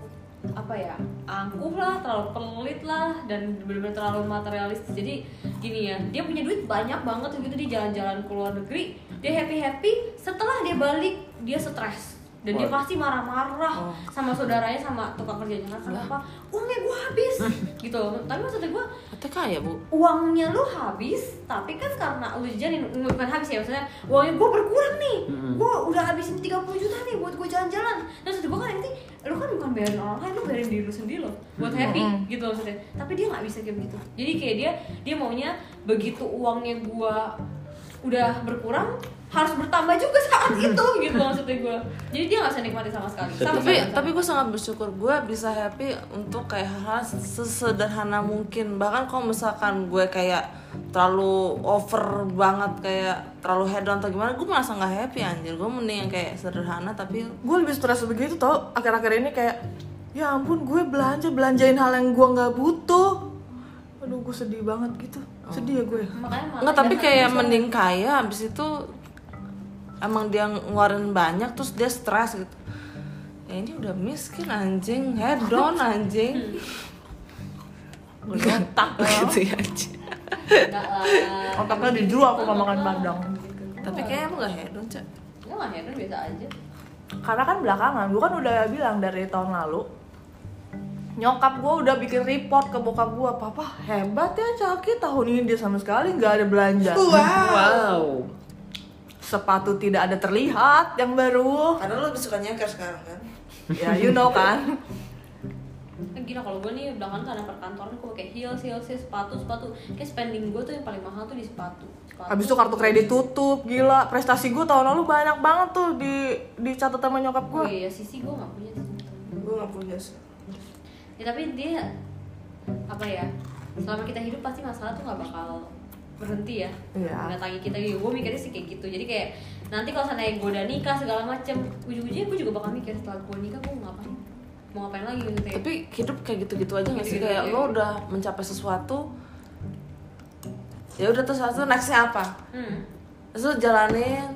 apa ya angkuh lah terlalu pelit lah dan benar-benar terlalu materialistis jadi gini ya dia punya duit banyak banget waktu itu dia jalan-jalan ke luar negeri dia happy happy setelah dia balik dia stres dan dia Waduh. Oh. pasti marah-marah sama saudaranya sama tukang kerjanya Kan, kenapa uangnya gue habis Hmm. gitu tapi maksudnya gue Kata kaya bu uangnya lu habis tapi kan karena lu jajanin bukan habis ya maksudnya uangnya gue berkurang nih Mm-mm. gue udah habisin 30 juta nih buat gue jalan-jalan dan maksud gue kan nanti lu kan bukan bayarin orang lain lu bayarin diri lu sendiri loh buat happy gitu loh maksudnya tapi dia nggak bisa kayak gitu jadi kayak dia dia maunya begitu uangnya gue udah berkurang harus bertambah juga saat itu gitu maksudnya gue jadi dia nggak bisa nikmati sama sekali sama tapi sekali. tapi gue sangat bersyukur gue bisa happy untuk kayak hal sesederhana mungkin bahkan kalau misalkan gue kayak terlalu over banget kayak terlalu head on atau gimana gue merasa nggak happy anjir gue mending yang kayak sederhana tapi gue lebih stres begitu tau akhir-akhir ini kayak ya ampun gue belanja belanjain hal yang gue nggak butuh aduh gue sedih banget gitu sedih ya gue makanya nggak tapi kayak mending kaya abis itu emang dia ngeluarin banyak terus dia stres gitu ya ini udah miskin anjing head on anjing Gotak gitu ya anjing enggak lah otaknya dijual aku makan padang tapi kayaknya lu gak hedon cak Gue gak heran ya kan biasa aja karena kan belakangan gue kan udah bilang dari tahun lalu nyokap gue udah bikin report ke bokap gue papa hebat ya Caki tahun ini dia sama sekali nggak ada belanja Wow. sepatu tidak ada terlihat yang baru karena lu lebih suka nyengker sekarang kan ya you know kan Eh, Gila kalau gue nih belakangan karena perkantoran gue pakai heels, heels, heels, sepatu, sepatu Kayak spending gue tuh yang paling mahal tuh di sepatu Sepatu Habis itu kartu kredit tutup, gila. Prestasi gue tahun lalu banyak banget tuh di di catatan nyokap Oh gue. iya, sisi gue gak punya sisi. gue gak punya sih Ya tapi dia Apa ya Selama kita hidup pasti masalah tuh gak bakal berhenti ya Iya. Mendatangi kita gitu, gue mikirnya sih kayak gitu Jadi kayak nanti kalau seandainya gue udah nikah segala macem Ujung-ujungnya gue juga bakal mikir setelah gue nikah gue mau ngapain Mau ngapain lagi gitu ya tapi hidup kayak gitu-gitu aja nggak sih Gitu-gitu kayak aja. lo udah mencapai sesuatu ya udah terus satu nextnya apa hmm. Terus lu jalanin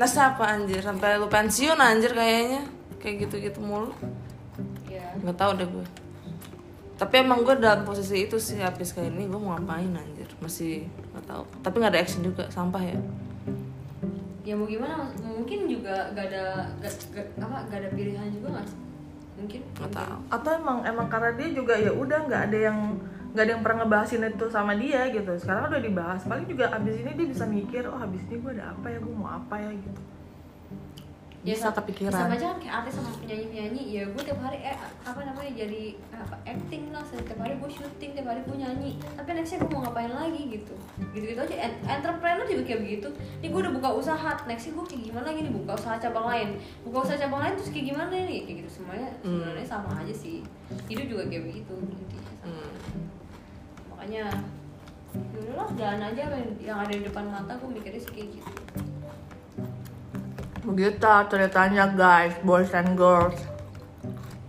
Nes apa anjir? Sampai lu pensiun anjir kayaknya Kayak gitu-gitu mulu Ya Gak tau deh gue Tapi emang gue dalam posisi itu sih Habis kayak ini gue mau ngapain anjir Masih gak tau Tapi gak ada action juga, sampah ya ya mau gimana Mas? mungkin juga gak ada gak, gak- apa gak ada pilihan juga nggak sih? mungkin Gak tau Atau emang emang karena dia juga ya udah nggak ada yang nggak ada yang pernah ngebahasin itu sama dia gitu. Sekarang udah dibahas. Paling juga abis ini dia bisa mikir, oh abis ini gue ada apa ya, gue mau apa ya gitu. Bisa sa- kepikiran. Ya, sama aja kan kayak artis sama penyanyi penyanyi ya gue tiap hari eh, apa namanya jadi apa, acting lah setiap hari gue syuting tiap hari gue nyanyi tapi nextnya gue mau ngapain lagi gitu gitu gitu aja En- entrepreneur juga kayak begitu nih gue udah buka usaha nextnya gue kayak gimana lagi nih buka usaha cabang lain buka usaha cabang lain terus kayak gimana nih kayak gitu semuanya sebenarnya Hmm. sama aja sih hidup juga kayak begitu intinya sama Hmm. makanya yaudahlah jalan aja apa yang- yang ada di depan mata gue mikirnya sih kayak gitu Begitu ceritanya guys, boys and girls.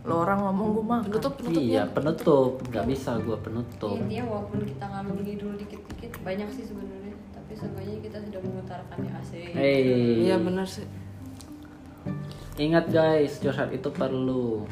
Lo orang ngomong gue mah. Penutup, penutup Iya, penutup. Nggak bisa gua penutup. intinya walaupun kita ngambil dulu dikit-dikit banyak sih sebenarnya tapi seenggaknya kita sudah mengutarakannya asik Hey. Iya bener sih Ingat guys, curhat itu perlu.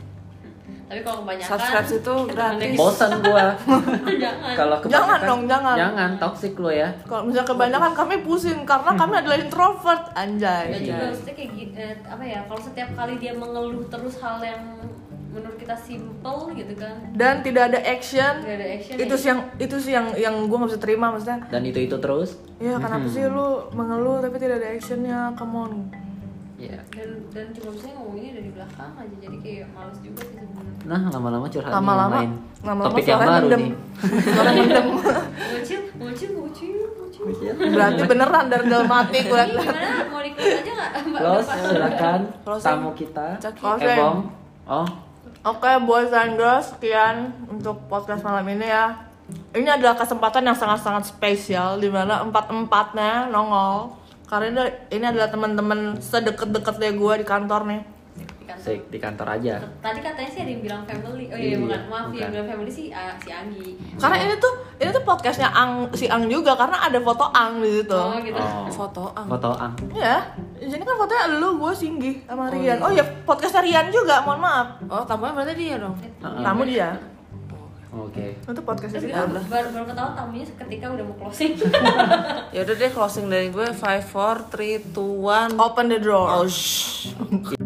tapi kalau kebanyakan Subscribe itu gratis. bosan gua jangan kalau Jangan kebanyakan- dong, jangan. jangan toksik lo ya Kalau misalnya kebanyakan kami pusing karena kami adalah introvert, Dan anjay. juga Iya. maksudnya kayak gi- eh, apa ya kalau setiap kali dia mengeluh terus hal yang menurut kita simple gitu kan Dan tidak ada action. Tidak ada action, Itu Iya. ya. sih yang itu sih yang yang gue nggak bisa terima maksudnya. dan itu itu terus Ya kenapa sih lu mengeluh tapi tidak ada actionnya? Come on. ya dan dan cuma misalnya ngomonginnya dari belakang aja jadi kayak males juga sih sebenarnya nah lama-lama curhat Lama-lama, nih yang lain lama-lama topik yang suaranya baru mendem. nih Orang mendem. ngocil ngocil ngocil ngocil Berarti beneran dari dalam hati gue. Ini gimana mau di close aja nggak mbak Close, Depan? silakan Closing. tamu kita Cakep. Ebong oh Oke boys and girls, sekian untuk podcast malam ini ya. Ini adalah kesempatan yang sangat-sangat spesial dimana empat-empatnya nongol. Karena ini- ini adalah teman-teman sedekat-dekatnya gue di kantor nih. Di kantor. sik di kantor aja tadi katanya sih ada yang bilang family oh iya, Iya, bukan maaf yang bukan. bilang family sih ah, si Anggi Karena ini tuh ini tuh podcastnya Ang si Ang juga karena ada foto Ang di situ. oh gitu oh Fotoan. fotoan Ya, jadi kan fotonya lu, gue, Singgi, sama Rian. Oh iya, podcastnya Rian juga, mohon maaf. Oh, tamunya berarti dia dong. Heeh. Tamu dia. oke Itu podcastnya terus dia. kita baru baru ketahuan tamunya ketika udah mau closing Ya udah deh closing dari gue 5 4 3 2 1. Open the door.